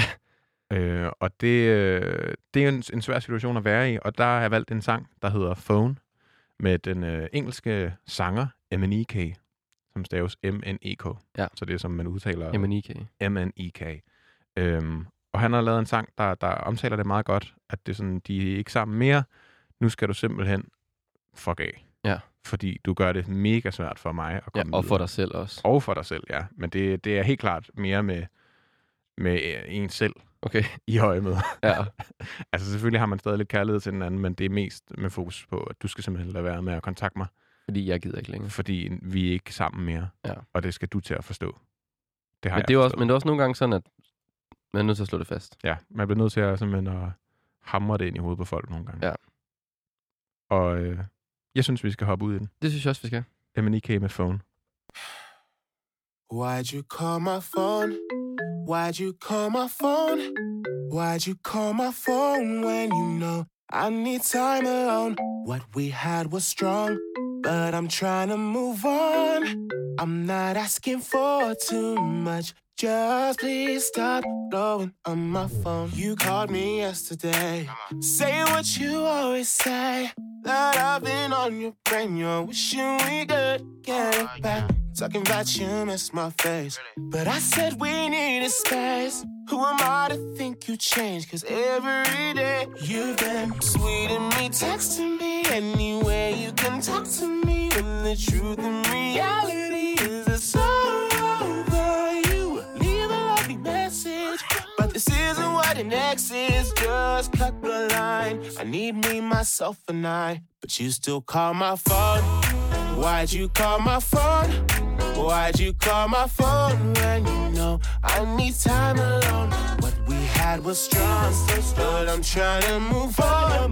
A: Øh, og det, øh, det er en, en svær situation at være i, og der har jeg valgt en sang, der hedder Phone, med den øh, engelske sanger MNEK, som staves M-N-E-K.
B: Ja. E
A: Så det er, som man udtaler
B: Jamen, I kan.
A: MNEK. Øhm, og han har lavet en sang, der, der omtaler det meget godt, at det er sådan, de er ikke sammen mere. Nu skal du simpelthen fuck af.
B: Ja.
A: Fordi du gør det mega svært for mig at
B: Ja,
A: komme
B: og for
A: videre.
B: dig selv også.
A: Og for dig selv, ja. Men det, det er helt klart mere med, med øh, en selv
B: Okay,
A: i øje med.
B: ja.
A: altså selvfølgelig har man stadig lidt kærlighed til den anden, men det er mest med fokus på, at du skal simpelthen lade være med at kontakte mig,
B: Fordi jeg gider ikke længere.
A: fordi vi er ikke sammen mere.
B: Mm. Ja.
A: Og det skal du til at forstå. Det har
B: Men
A: jeg
B: det, er jo også,
A: forstået.
B: men det er også nogle gange sådan, at man er nødt til at slå det fast.
A: Ja, man bliver nødt til at, simpelthen at hamre det ind i hovedet på folk nogle gange.
B: Ja.
A: Og øh, jeg synes, vi skal hoppe ud i den.
B: Det synes jeg også, vi skal.
A: M&EK med phone.
E: Why'd you call my phone? Why'd you call my phone? Why'd you call my phone when you know I need time alone? What we had was strong, but I'm trying to move on. I'm not asking for too much. Just please stop blowing on my phone. You called me yesterday. Say what you always say. That I've been on your brain. You're wishing we could get it back. Talking about you miss my face. But I said we needed space. Who am I to think you changed? Cause every day you've been sweet and me, texting me anyway. You can talk to me when the truth and reality is it's all over you. Leave a lovely message, but this isn't what an ex is. Just cut the line. I need me, myself, and I. But you still call my phone. Why'd you call my phone? Why'd you call my phone when you know I need time alone? What we had was strong, but I'm trying to move on.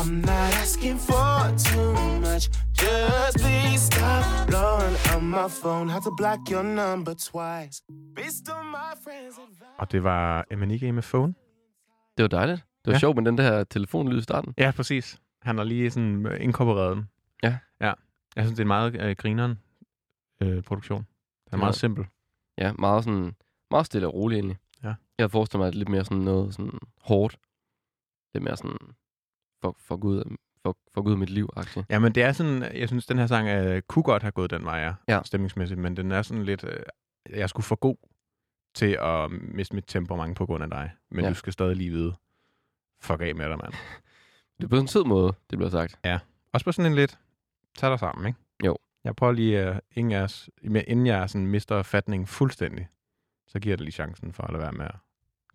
E: I'm not asking for too much. Just please stop blowing on my phone. Had to block your number twice. Based on my friends' advice.
A: Og det var M&EK med phone.
B: Det var dejligt. Det var ja.
A: Ja.
B: sjovt med den der telefonlyd i starten.
A: Ja, præcis. Han har lige sådan øh, inkorporeret den.
B: Ja.
A: Ja. Jeg synes, det er en meget øh, grineren øh, produktion. Den er
B: Ja.
A: meget simpel.
B: Ja, meget, sådan, meget stille og roligt egentlig.
A: Ja.
B: Jeg havde forestillet mig lidt mere sådan noget sådan hårdt. Lidt mere sådan, fuck, fuck, ud, af- fuck, fuck ud af mit liv -agtigt.
A: Ja, men det er sådan, jeg synes, den her sang øh, kunne godt have gået den vej, ja,
B: Ja.
A: stemningsmæssigt, men den er sådan lidt, øh, jeg skulle for god til at miste mit temperament på grund af dig, men
B: Ja.
A: ja. du skal stadig lige vide, fuck af med dig, mand.
B: Det er på en sød måde, det bliver sagt.
A: Også på sådan en lidt, tag dig sammen, ikke?
B: Jo.
A: Jeg prøver lige, uh, ingen af os, men inden jeg sådan mister fatningen fuldstændig, så giver jeg dig lige chancen for at lade være med at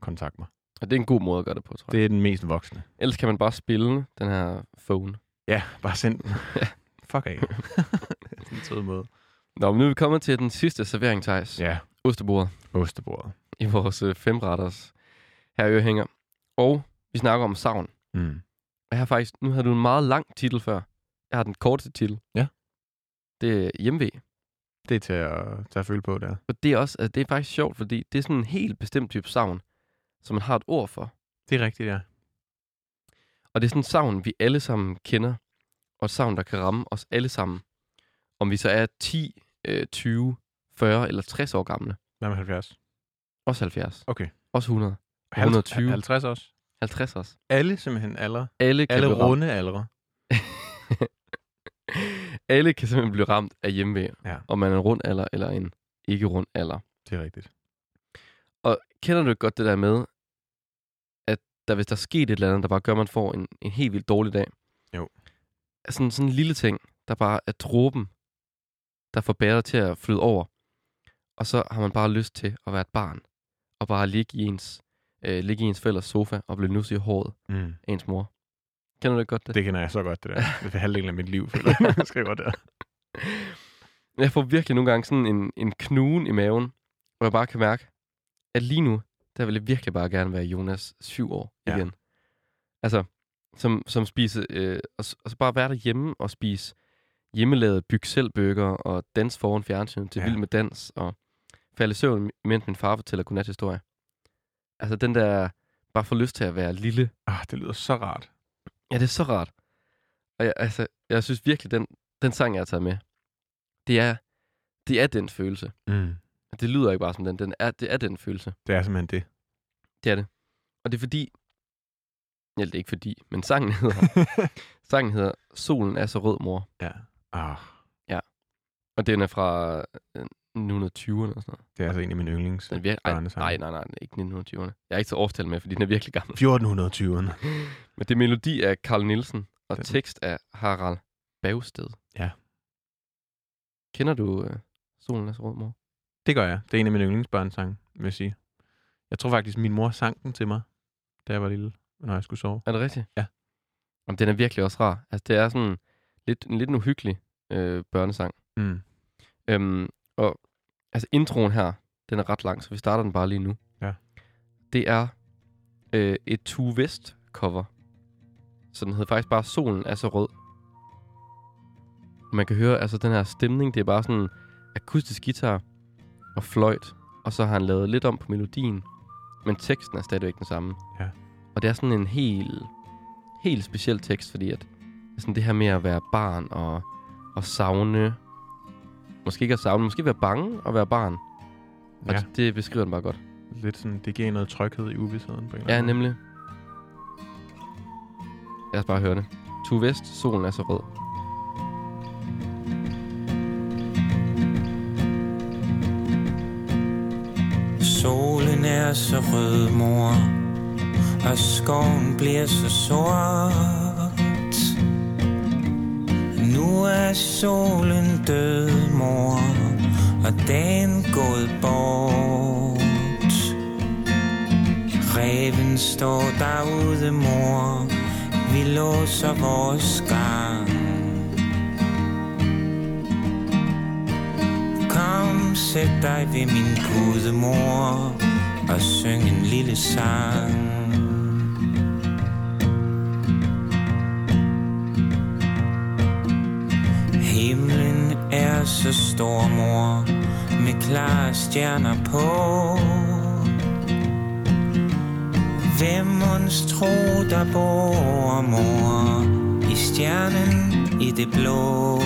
A: kontakte mig.
B: Og det er en god måde at gøre det på, tror jeg.
A: Det er den mest voksne.
B: Det... Ellers kan man bare spille den her phone.
A: Ja, bare send den. fuck af. Det er en sød måde.
B: Nå, men nu er vi kommet til den sidste servering, Thijs. Ja.
A: Ja,
B: Ostebordet.
A: ostebordet.
B: i vores øh, femretters her ørehænger. Og vi snakker om savn.
A: Mm.
B: Og her faktisk, nu havde du en meget lang titel før. Jeg har den korteste titel.
A: Ja.
B: Det er hjemve.
A: Det er til at, til at føle på, der.
B: Og det er også, altså, det er faktisk sjovt, fordi det er sådan en helt bestemt type savn, som man har et ord for.
A: Det er rigtigt, ja.
B: Og det er sådan en savn, vi alle sammen kender, og et savn, der kan ramme os alle sammen. Om vi så er 10, øh, 20, 40 eller 60 år gamle.
A: Hvad med 70?
B: Også 70.
A: Okay.
B: Også 100.
A: Halv-
B: 120.
A: 50 også.
B: 50 også.
A: Alle simpelthen aldre.
B: Alle kan,
A: Alle
B: blive ramt.
A: runde aldre.
B: alle kan simpelthen blive ramt af hjemmevæg.
A: Ja.
B: Om man er en rund alder eller en ikke rund alder.
A: Det er rigtigt.
B: Og kender du ikke godt det der med, at der, hvis der er sket et eller andet, der bare gør, at man får en, en helt vildt dårlig dag?
A: Jo.
B: Altså sådan, sådan en lille ting, der bare er dråben, der får bæret til at flyde over. Og så har man bare lyst til at være et barn, og bare ligge i ens, øh, ligge i ens forældres sofa og blive nusset i håret
A: Mm.
B: af ens mor. Kender du ikke godt det?
A: Det kender jeg så godt, det der. Det er halvdelen af mit liv, føler jeg, jeg skriver der.
B: Jeg får virkelig nogle gange sådan en, en knugen i maven, hvor jeg bare kan mærke, at lige nu, der vil jeg virkelig bare gerne være Jonas syv år
A: Ja.
B: igen. Altså, som, som spise, øh, og, s- og så bare være derhjemme og spise hjemmelavede byg selv og dans foran fjernsynet til
A: Ja.
B: ja. vild med dans, og falde i søvn, mens min far fortæller godnathistorier. Altså den der, bare få lyst til at være lille
A: Ah, det lyder så rart.
B: Ja, det er så rart. Og jeg, altså, jeg synes virkelig, den, den sang, jeg har taget med, det er, det er den følelse.
A: Mm.
B: Det lyder ikke bare som den, den er, det er den følelse.
A: Det er simpelthen det.
B: Det er det. Og det er fordi, ja, det er ikke fordi, men sangen hedder, sangen hedder Solen er så rød, mor.
A: Ja. Ah,
B: Og den er fra øh, 1920'erne og sådan noget.
A: det er altså en af mine yndlings.
B: Den er virkelig, ej,
A: børnesang.
B: nej, nej, nej, den er ikke 1920'erne. Jeg er ikke så årstal med, fordi den er virkelig gammel.
A: 1420'erne.
B: Men det er melodi af Carl Nielsen, og
A: Den-
B: den. tekst af Harald Bagsted.
A: Ja.
B: Kender du øh, Solen er så rød, mor?
A: Det gør jeg. Det er en af mine yndlingsbørnesange, vil jeg sige. Jeg tror faktisk, min mor sang den til mig, da jeg var lille, når jeg skulle sove.
B: Er det rigtigt?
A: Ja.
B: Jamen, den er virkelig også rar. Altså, det er sådan lidt, en lidt en uhyggelig øh, børnesang.
A: Mm.
B: Øhm, og altså, introen her, den er ret lang, så vi starter den bare lige nu.
A: Ja.
B: Det er øh, et Tue West cover. Så den hedder faktisk bare Solen er så rød. Og man kan høre, altså den her stemning, det er bare sådan akustisk guitar og fløjt. Og så har han lavet lidt om på melodien, men teksten er stadigvæk den samme.
A: Ja.
B: Og det er sådan en helt, helt speciel tekst, fordi at sådan det her med at være barn og, og savne, måske ikke at savne, måske være bange og være barn. Og
A: Ja.
B: ja. det, det beskriver den bare godt.
A: Lidt sådan, det giver noget tryghed i uvidsheden på en eller
B: Ja,
A: anden måde.
B: nemlig. Lad os bare høre det. Tu Vest, solen er så rød.
G: Solen er så rød, mor Og skoven bliver så sort Nu er solen død, mor Og dagen gået bort Reven står derude, mor Vi låser vores gang Kom, sæt dig ved min pude mor Og syng en lille sang Himlen er så stor, mor Med klare stjerner på Hvem ons tro, der bor, mor I stjernen i det blå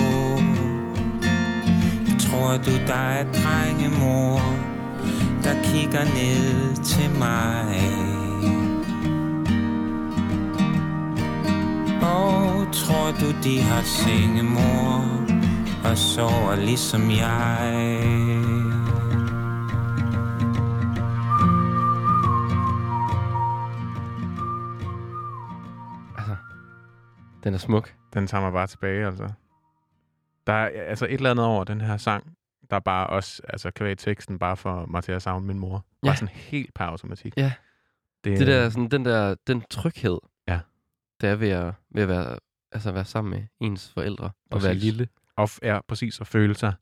G: Tror du, der er drengemor, der kigger ned til mig? Og tror du, de har sengemor og sover ligesom jeg?
B: Altså, den er smuk.
A: Den tager mig bare tilbage, altså. Der er altså et eller andet over den her sang, der bare også, altså kvæg teksten, bare for mig til at savne min mor. Ja.
B: Ja.
A: Bare sådan helt per automatik.
B: Ja.
A: Det,
B: Det der, sådan, den der den tryghed,
A: Ja.
B: der er ved at, ved at være, altså være sammen med ens forældre og være
A: Præcis.
B: lille.
A: og f- er præcis at føle sig,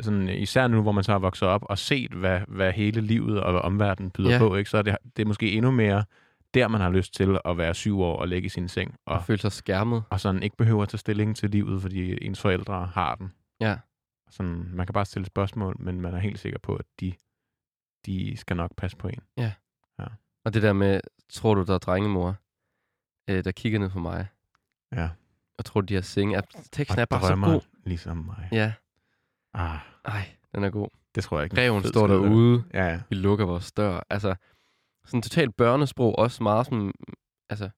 A: sådan, øh, især nu, hvor man så har vokset op og set, hvad, hvad hele livet og hvad omverdenen byder ja.
B: Ja.
A: på, ikke? så er det, det er måske endnu mere der, man har lyst til at være syv år og ligge i sin seng, og,
B: Og føle sig skærmet.
A: og sådan ikke behøver at tage stilling til livet, fordi ens forældre har den.
B: Ja.
A: Sådan, man kan bare stille spørgsmål, men man er helt sikker på, at de, de skal nok passe på en.
B: Og det der med, tror du, der er drengemor, øh, der kigger ned på mig?
A: Ja.
B: Og tror, de har senge. At teksten er
A: Og
B: bare så
A: drømmer
B: god.
A: Ligesom mig.
B: Ja,
A: Ah,
B: ej, den er god.
A: det tror jeg ikke.
B: Reven
A: Fed
B: står
A: skid, det
B: derude.
A: Ja, ja.
B: Vi lukker vores dør. Altså, sådan totalt børnesprog, også meget sådan, altså,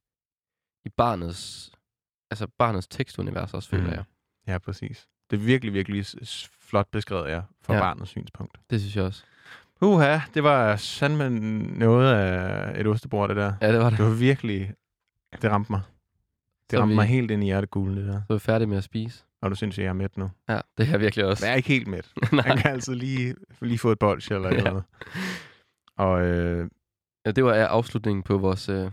B: i barnets, altså barnets tekstunivers også, føler
A: Mm.
B: mm. jeg.
A: ja, præcis. Det er virkelig, virkelig s- s- flot beskrevet, ja, fra ja.
B: Ja.
A: barnets synspunkt.
B: Det synes jeg også.
A: Uha, det var sandme noget af et ostebord, det der.
B: Ja, det var det.
A: Det var virkelig... Det ramte mig. Det
B: Så
A: ramte
B: vi-
A: mig helt ind i hjertekuglen, det der.
B: Så er vi færdige med at spise.
A: Og du synes, jeg er mæt nu.
B: Ja, det er jeg virkelig også.
A: Men jeg er ikke helt mæt.
B: Nej.
A: Man kan altid lige, lige få et bolsje eller et
B: Ja.
A: eller andet. Og øh,
B: Ja, det var afslutningen på vores øh,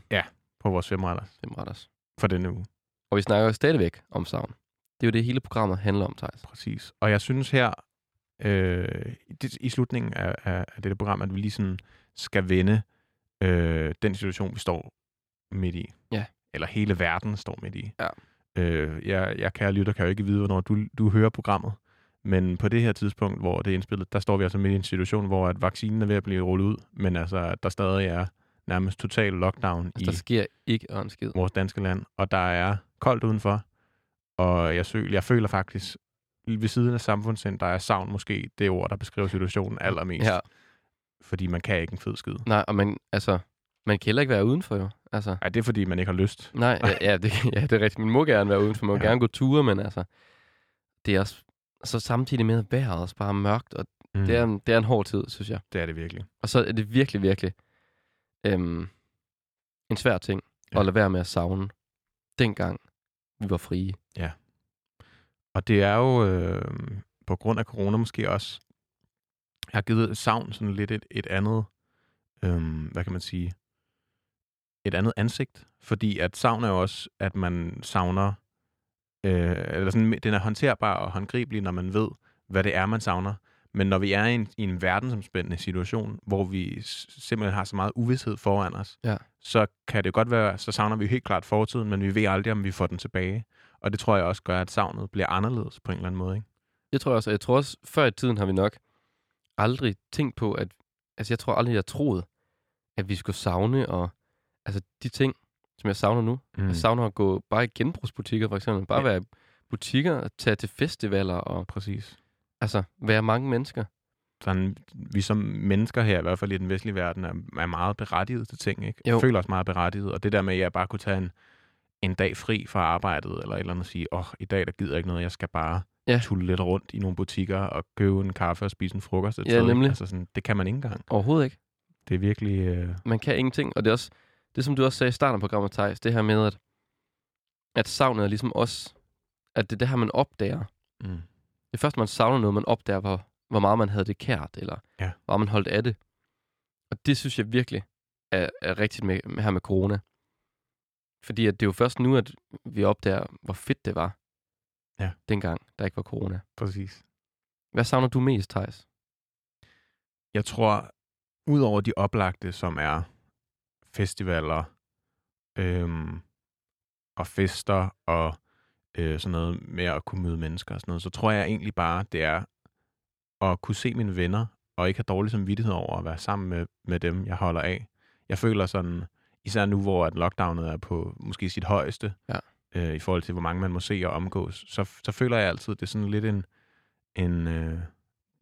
A: på vores femretter
B: femretters.
A: for denne uge.
B: Og vi snakker jo stadigvæk om savn. Det er jo det, hele programmet handler om, Thijs.
A: Præcis. Og jeg synes her, øh, i det- i slutningen af, af, af dette program, at vi lige sådan skal vende øh, den situation, vi står midt i.
B: Ja.
A: Eller hele verden står midt i.
B: Ja.
A: Øh, jeg, jeg kan lytte og kan jo ikke vide, hvornår du, du hører programmet. Men på det her tidspunkt, hvor det er indspillet, der står vi altså midt i en situation, hvor at vaccinen er ved at blive rullet ud, men altså, at der stadig er nærmest total lockdown
B: Altså, der
A: i
B: sker ikke en skid.
A: vores danske land, og der er koldt udenfor, og jeg, sø, jeg føler faktisk, ved siden af samfundssind, der er savn måske det ord, der beskriver situationen allermest.
B: Ja,
A: Fordi man kan ikke en fed skid.
B: nej, og man, altså, man kan heller ikke være udenfor jo. Altså,
A: Ej, det er fordi, man ikke har lyst.
B: nej, ja, ja, det, ja, det er rigtigt. Man må gerne være udenfor, man må
A: Ja.
B: ja. gerne gå ture, men altså, det er også, så samtidig med at vejret også bare er mørkt, og
A: Mm.
B: mm. det, er en, det er en hård tid, synes jeg.
A: det er det virkelig.
B: Og så er det virkelig, virkelig øhm, en svær ting
A: Ja.
B: ja. at lade være med at savne dengang vi var frie.
A: Og det er jo øh, på grund af corona måske også, jeg har givet savn sådan lidt et, et andet, øh, hvad kan man sige, et andet ansigt. Fordi at savn er jo også, at man savner, øh, eller sådan, den er håndterbar og håndgribelig, når man ved, hvad det er, man savner. Men når vi er i en, i en verdensomspændende situation, hvor vi s- simpelthen har så meget uvidshed foran os,
B: Ja.
A: så kan det godt være, så savner vi helt klart fortiden, men vi ved aldrig, om vi får den tilbage. Og det tror jeg også gør, at savnet bliver anderledes på en eller anden måde. Ikke?
B: Det tror jeg også. og Jeg tror også, før i tiden har vi nok aldrig tænkt på, at... Altså, jeg tror aldrig, jeg troede, at vi skulle savne og... Altså, de ting, som jeg savner nu. Mm.
A: Altså,
B: Jeg savner at gå bare i genbrugsbutikker, for eksempel. Bare
A: Ja.
B: ja. være i butikker og tage til festivaler og...
A: Præcis.
B: Altså, være mange mennesker.
A: Sådan, vi som mennesker her, i hvert fald i den vestlige verden, er, er meget berettiget til ting. Ikke?
B: Jo.
A: Føler os meget berettiget. Og det der med, at jeg bare kunne tage en, en dag fri fra arbejdet, eller et eller andet og sige, åh, oh, i dag der gider jeg ikke noget, jeg skal bare ja.
B: Ja.
A: tulle lidt rundt i nogle butikker og købe en kaffe og spise en frokost. et
B: Ja,
A: sted, ikke?
B: nemlig.
A: Altså sådan, det kan man ikke engang.
B: Overhovedet ikke.
A: Det er virkelig... Øh,
B: Man kan ingenting. Og det er også... Det, som du også sagde i starten af programmet, Thijs, det her med, at, at savnet er ligesom os. At det er det her, man opdager.
A: mm.
B: det første, man savner noget, man opdager, hvor, hvor meget man havde det kært, eller
A: Ja.
B: hvor meget man holdt af det. Og det synes jeg virkelig er, er rigtigt med, med her med corona. Fordi at det er jo først nu, at vi opdager, hvor fedt det var,
A: Ja.
B: dengang der ikke var corona.
A: Præcis.
B: Hvad savner du mest, Thijs?
A: Jeg tror, udover de oplagte, som er festivaler øhm, og fester og øh, sådan noget med at kunne møde mennesker og sådan noget, så tror jeg egentlig bare, det er at kunne se mine venner og ikke have dårlig samvittighed over at være sammen med, med dem, jeg holder af. Jeg føler sådan, især nu, hvor at lockdownet er på måske sit højeste,
B: Ja.
A: øh, i forhold til, hvor mange man må se og omgås, så, så føler jeg altid, det er sådan lidt en... en øh,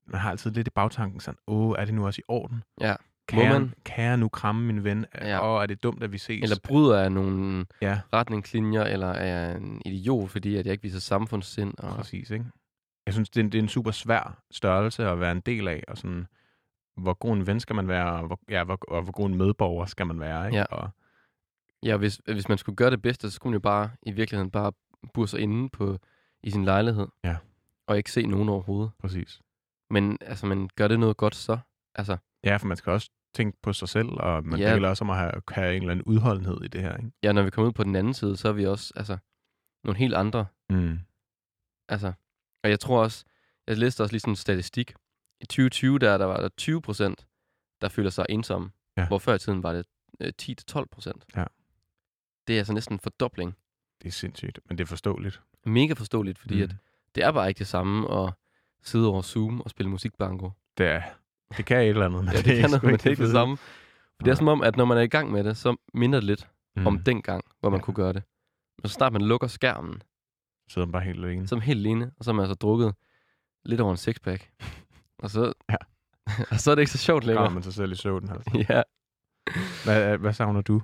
A: man har altid lidt i bagtanken sådan, åh, er det nu også i orden?
B: Ja.
A: Kan,
B: Må
A: jeg,
B: man?
A: kan jeg nu kramme min ven? Ja.
B: Ja.
A: Og er det dumt, at vi ses?
B: Eller bryder jeg nogle
A: ja,
B: retningslinjer, eller er jeg en idiot, fordi at jeg ikke viser samfundssind? Og...
A: præcis, ikke? Jeg synes, det er, en, det er en super svær størrelse at være en del af, og sådan, hvor god en ven skal man være, og hvor, ja, hvor, og hvor god en medborger skal man være, ikke?
B: Ja.
A: Og,
B: Ja, hvis, hvis man skulle gøre det bedste, så skulle man jo bare, i virkeligheden, bare burse inde på, i sin lejlighed.
A: Ja.
B: Og ikke se nogen overhovedet.
A: præcis.
B: Men altså, man gør det noget godt så? Altså,
A: Ja, for man skal også tænke på sig selv, og man
B: Ja.
A: ja. også om at have, have en eller anden udholdenhed i det her, ikke?
B: ja, når vi kommer ud på den anden side, så er vi også altså, nogle helt andre.
A: Mm.
B: Altså, og jeg tror også, jeg læste også lige sådan en statistik. I 2020, der, der var der 20 procent, der føler sig ensomme.
A: Ja.
B: Hvor før i tiden var det øh, 10-12 procent.
A: Ja.
B: Det er altså næsten en fordobling.
A: Det er sindssygt, men det er forståeligt.
B: Mega forståeligt, fordi mm.
A: Mm.
B: at det er bare ikke det samme at sidde over Zoom og spille musikbanko.
A: Det, er, det kan et eller andet, men
B: Ja,
A: det er
B: det kan
A: sgu
B: noget, men det er ikke det
A: fede.
B: samme. Det er som om, at når man er i gang med det, så minder det lidt
A: Mm.
B: mm. om dengang, hvor man
A: Ja.
B: kunne gøre det. Men så snart man lukker skærmen,
A: Sidder man bare helt alene.
B: så er man helt alene, og så har man altså drukket lidt over en sixpack. Og så,
A: Ja.
B: og så er det ikke så sjovt
A: Graver
B: længere.
A: man sig selv i søvn. Altså.
B: Ja.
A: Hvad, hvad savner du?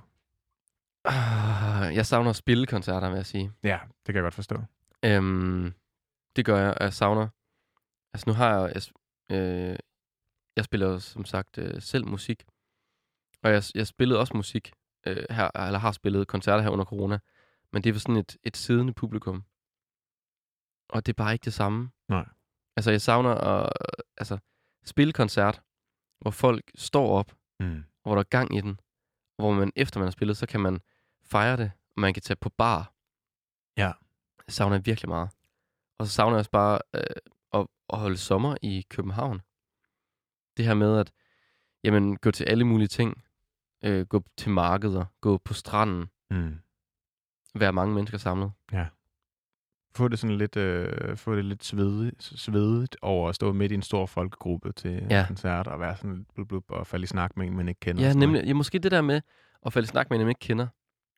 B: Ah, Jeg savner at spille koncerter, vil jeg sige.
A: Ja, det kan jeg godt forstå.
B: Øhm, det gør jeg, og jeg savner... Altså nu har jeg... Jeg, sp- øh, jeg spiller jo som sagt øh, selv musik. Og jeg, jeg spillede også musik øh, her, eller har spillet koncerter her under corona. Men det er for sådan et, et siddende publikum. Og det er bare ikke det samme.
A: Nej.
B: Altså jeg savner at altså, spille koncert, hvor folk står op,
A: Mm.
B: hvor der er gang i den. Og hvor man efter man har spillet, så kan man fejre det, og man kan tage på bar.
A: Ja.
B: Det savner jeg virkelig meget. Og så savner jeg også bare øh, at, at holde sommer i København. Det her med at jamen, gå til alle mulige ting. Øh, gå til markeder, gå på stranden,
A: Mm.
B: være mange mennesker samlet.
A: Få det sådan lidt, øh, få det lidt svedigt, svedigt over at stå midt i en stor folkegruppe til ja.
B: Ja.
A: koncert og være sådan lidt blub, blub, og falde i snak med en, man ikke kender. og
B: Ja,
A: sådan noget.
B: nemlig, ja, måske det der med at falde i snak med en, man ikke kender,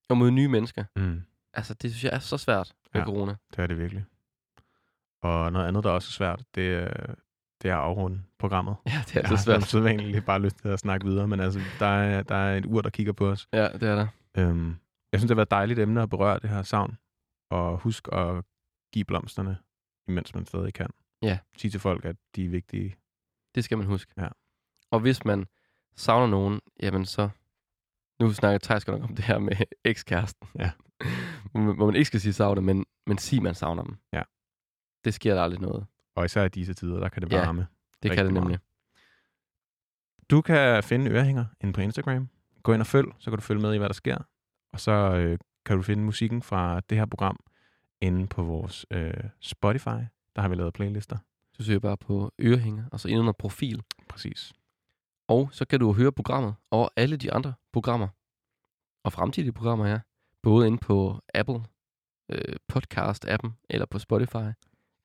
B: og møde nye mennesker.
A: Mm.
B: Altså, det synes jeg er så svært med
A: Ja.
B: ja. corona.
A: Det er det virkelig. Og noget andet, der også er svært, det, øh, det er at afrunde programmet.
B: Ja, det er
A: Jeg
B: så
A: har som
B: svært.
A: sædvanligt bare lyst til at snakke videre, men altså, der er, der er et ur, der kigger på os.
B: Ja, det er der.
A: Øhm, jeg synes, det har været et dejligt emne at berøre det her savn. Og husk at give blomsterne, imens man stadig kan.
B: Ja.
A: Sig til folk, at de er vigtige.
B: Det skal man huske.
A: Ja.
B: Og hvis man savner nogen, jamen så... Nu snakker Thijs godt nok om det her med ekskæresten.
A: Ja.
B: Hvor man- hvor man ikke skal sige savner, men, men sig, man savner dem.
A: Ja.
B: Det sker der aldrig noget.
A: Og især i disse tider, der kan det
B: Ja.
A: varme. Ja.
B: Det
A: Rigtig
B: kan det
A: meget.
B: nemlig.
A: Du kan finde ørehænger inde på Instagram. Gå ind og følg, så kan du følge med i, hvad der sker. Og så øh, kan du finde musikken fra det her program inde på vores øh, Spotify. Der har vi lavet playlister.
B: Du søger bare på ørehænger, og så ind under profil.
A: Præcis.
B: Og så kan du høre programmet og alle de andre programmer. Og fremtidige programmer, ja. Både inde på Apple øh, podcast-appen, eller på Spotify,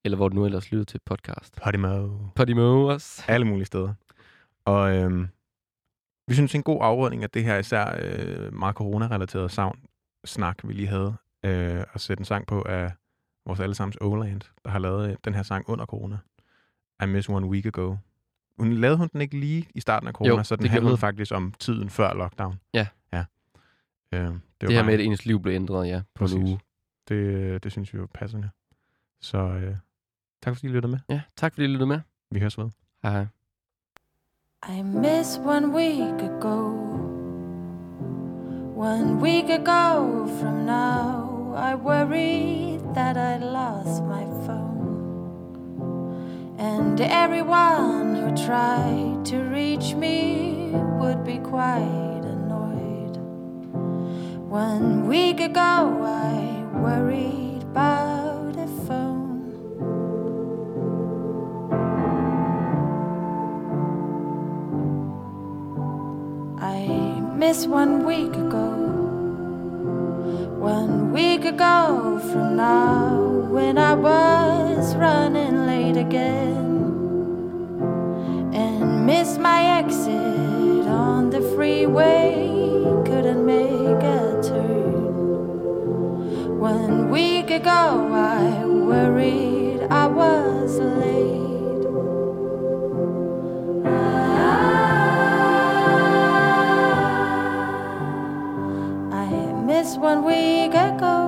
B: eller hvor du nu ellers lytter til podcast.
A: Podimo.
B: Podimo også.
A: Alle mulige steder. Og øhm, vi synes, det er en god afrunding af det her især øh, meget corona-relaterede savn-snak, vi lige havde. Øh, at sætte en sang på af vores allesammens Oland, der har lavet øh, den her sang under corona. I Miss One Week Ago. Hun lavede hun den ikke lige i starten af corona, jo,
B: Jo,
A: så den
B: det gjorde
A: handlede
B: hun.
A: faktisk om tiden før lockdown.
B: Ja.
A: ja. Øh, det, var
B: Det, det her
A: bare-
B: med, at ens liv blev ændret, ja, på
A: Præcis.
B: en uge.
A: det, det synes vi jo er passende. Så øh, tak fordi I lyttede med.
B: Ja, tak fordi I lyttede med.
A: Vi høres ved.
B: Hej hej.
D: I miss one week ago. One week ago from now, I worried that I lost my phone. And everyone who tried to reach me would be quite annoyed. One week ago, I worried about a phone. I miss one week ago. One week ago from now, when I was running late again. And missed my exit on the freeway, couldn't make a turn. One week ago, I worried I was late. Ah. I miss one week ago.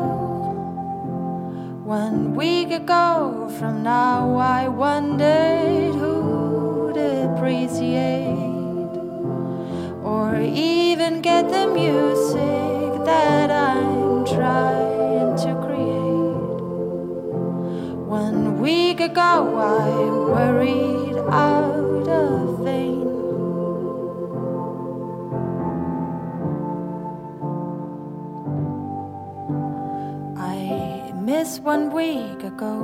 D: One week ago from now, I wondered who'd appreciate or even get the music that I'm trying to create. One week ago, I worried out of vain. I miss one week ago.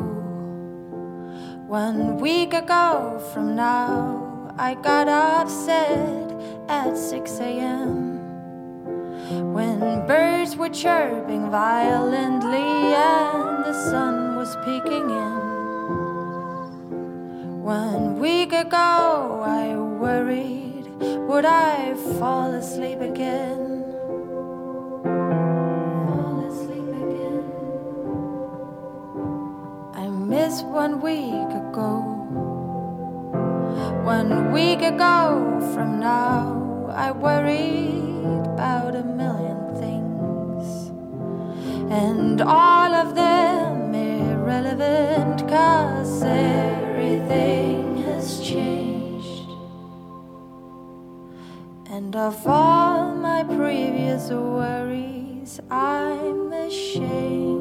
D: One week ago from now, I got upset at 6 a.m. When birds were chirping violently and the sun was peeking in. One week ago, I worried would I fall asleep again? Fall asleep again. I miss one week ago. One week ago from now, I worried about a million things. And all of them irrelevant, cause everything has changed. And of all my previous worries, I'm ashamed.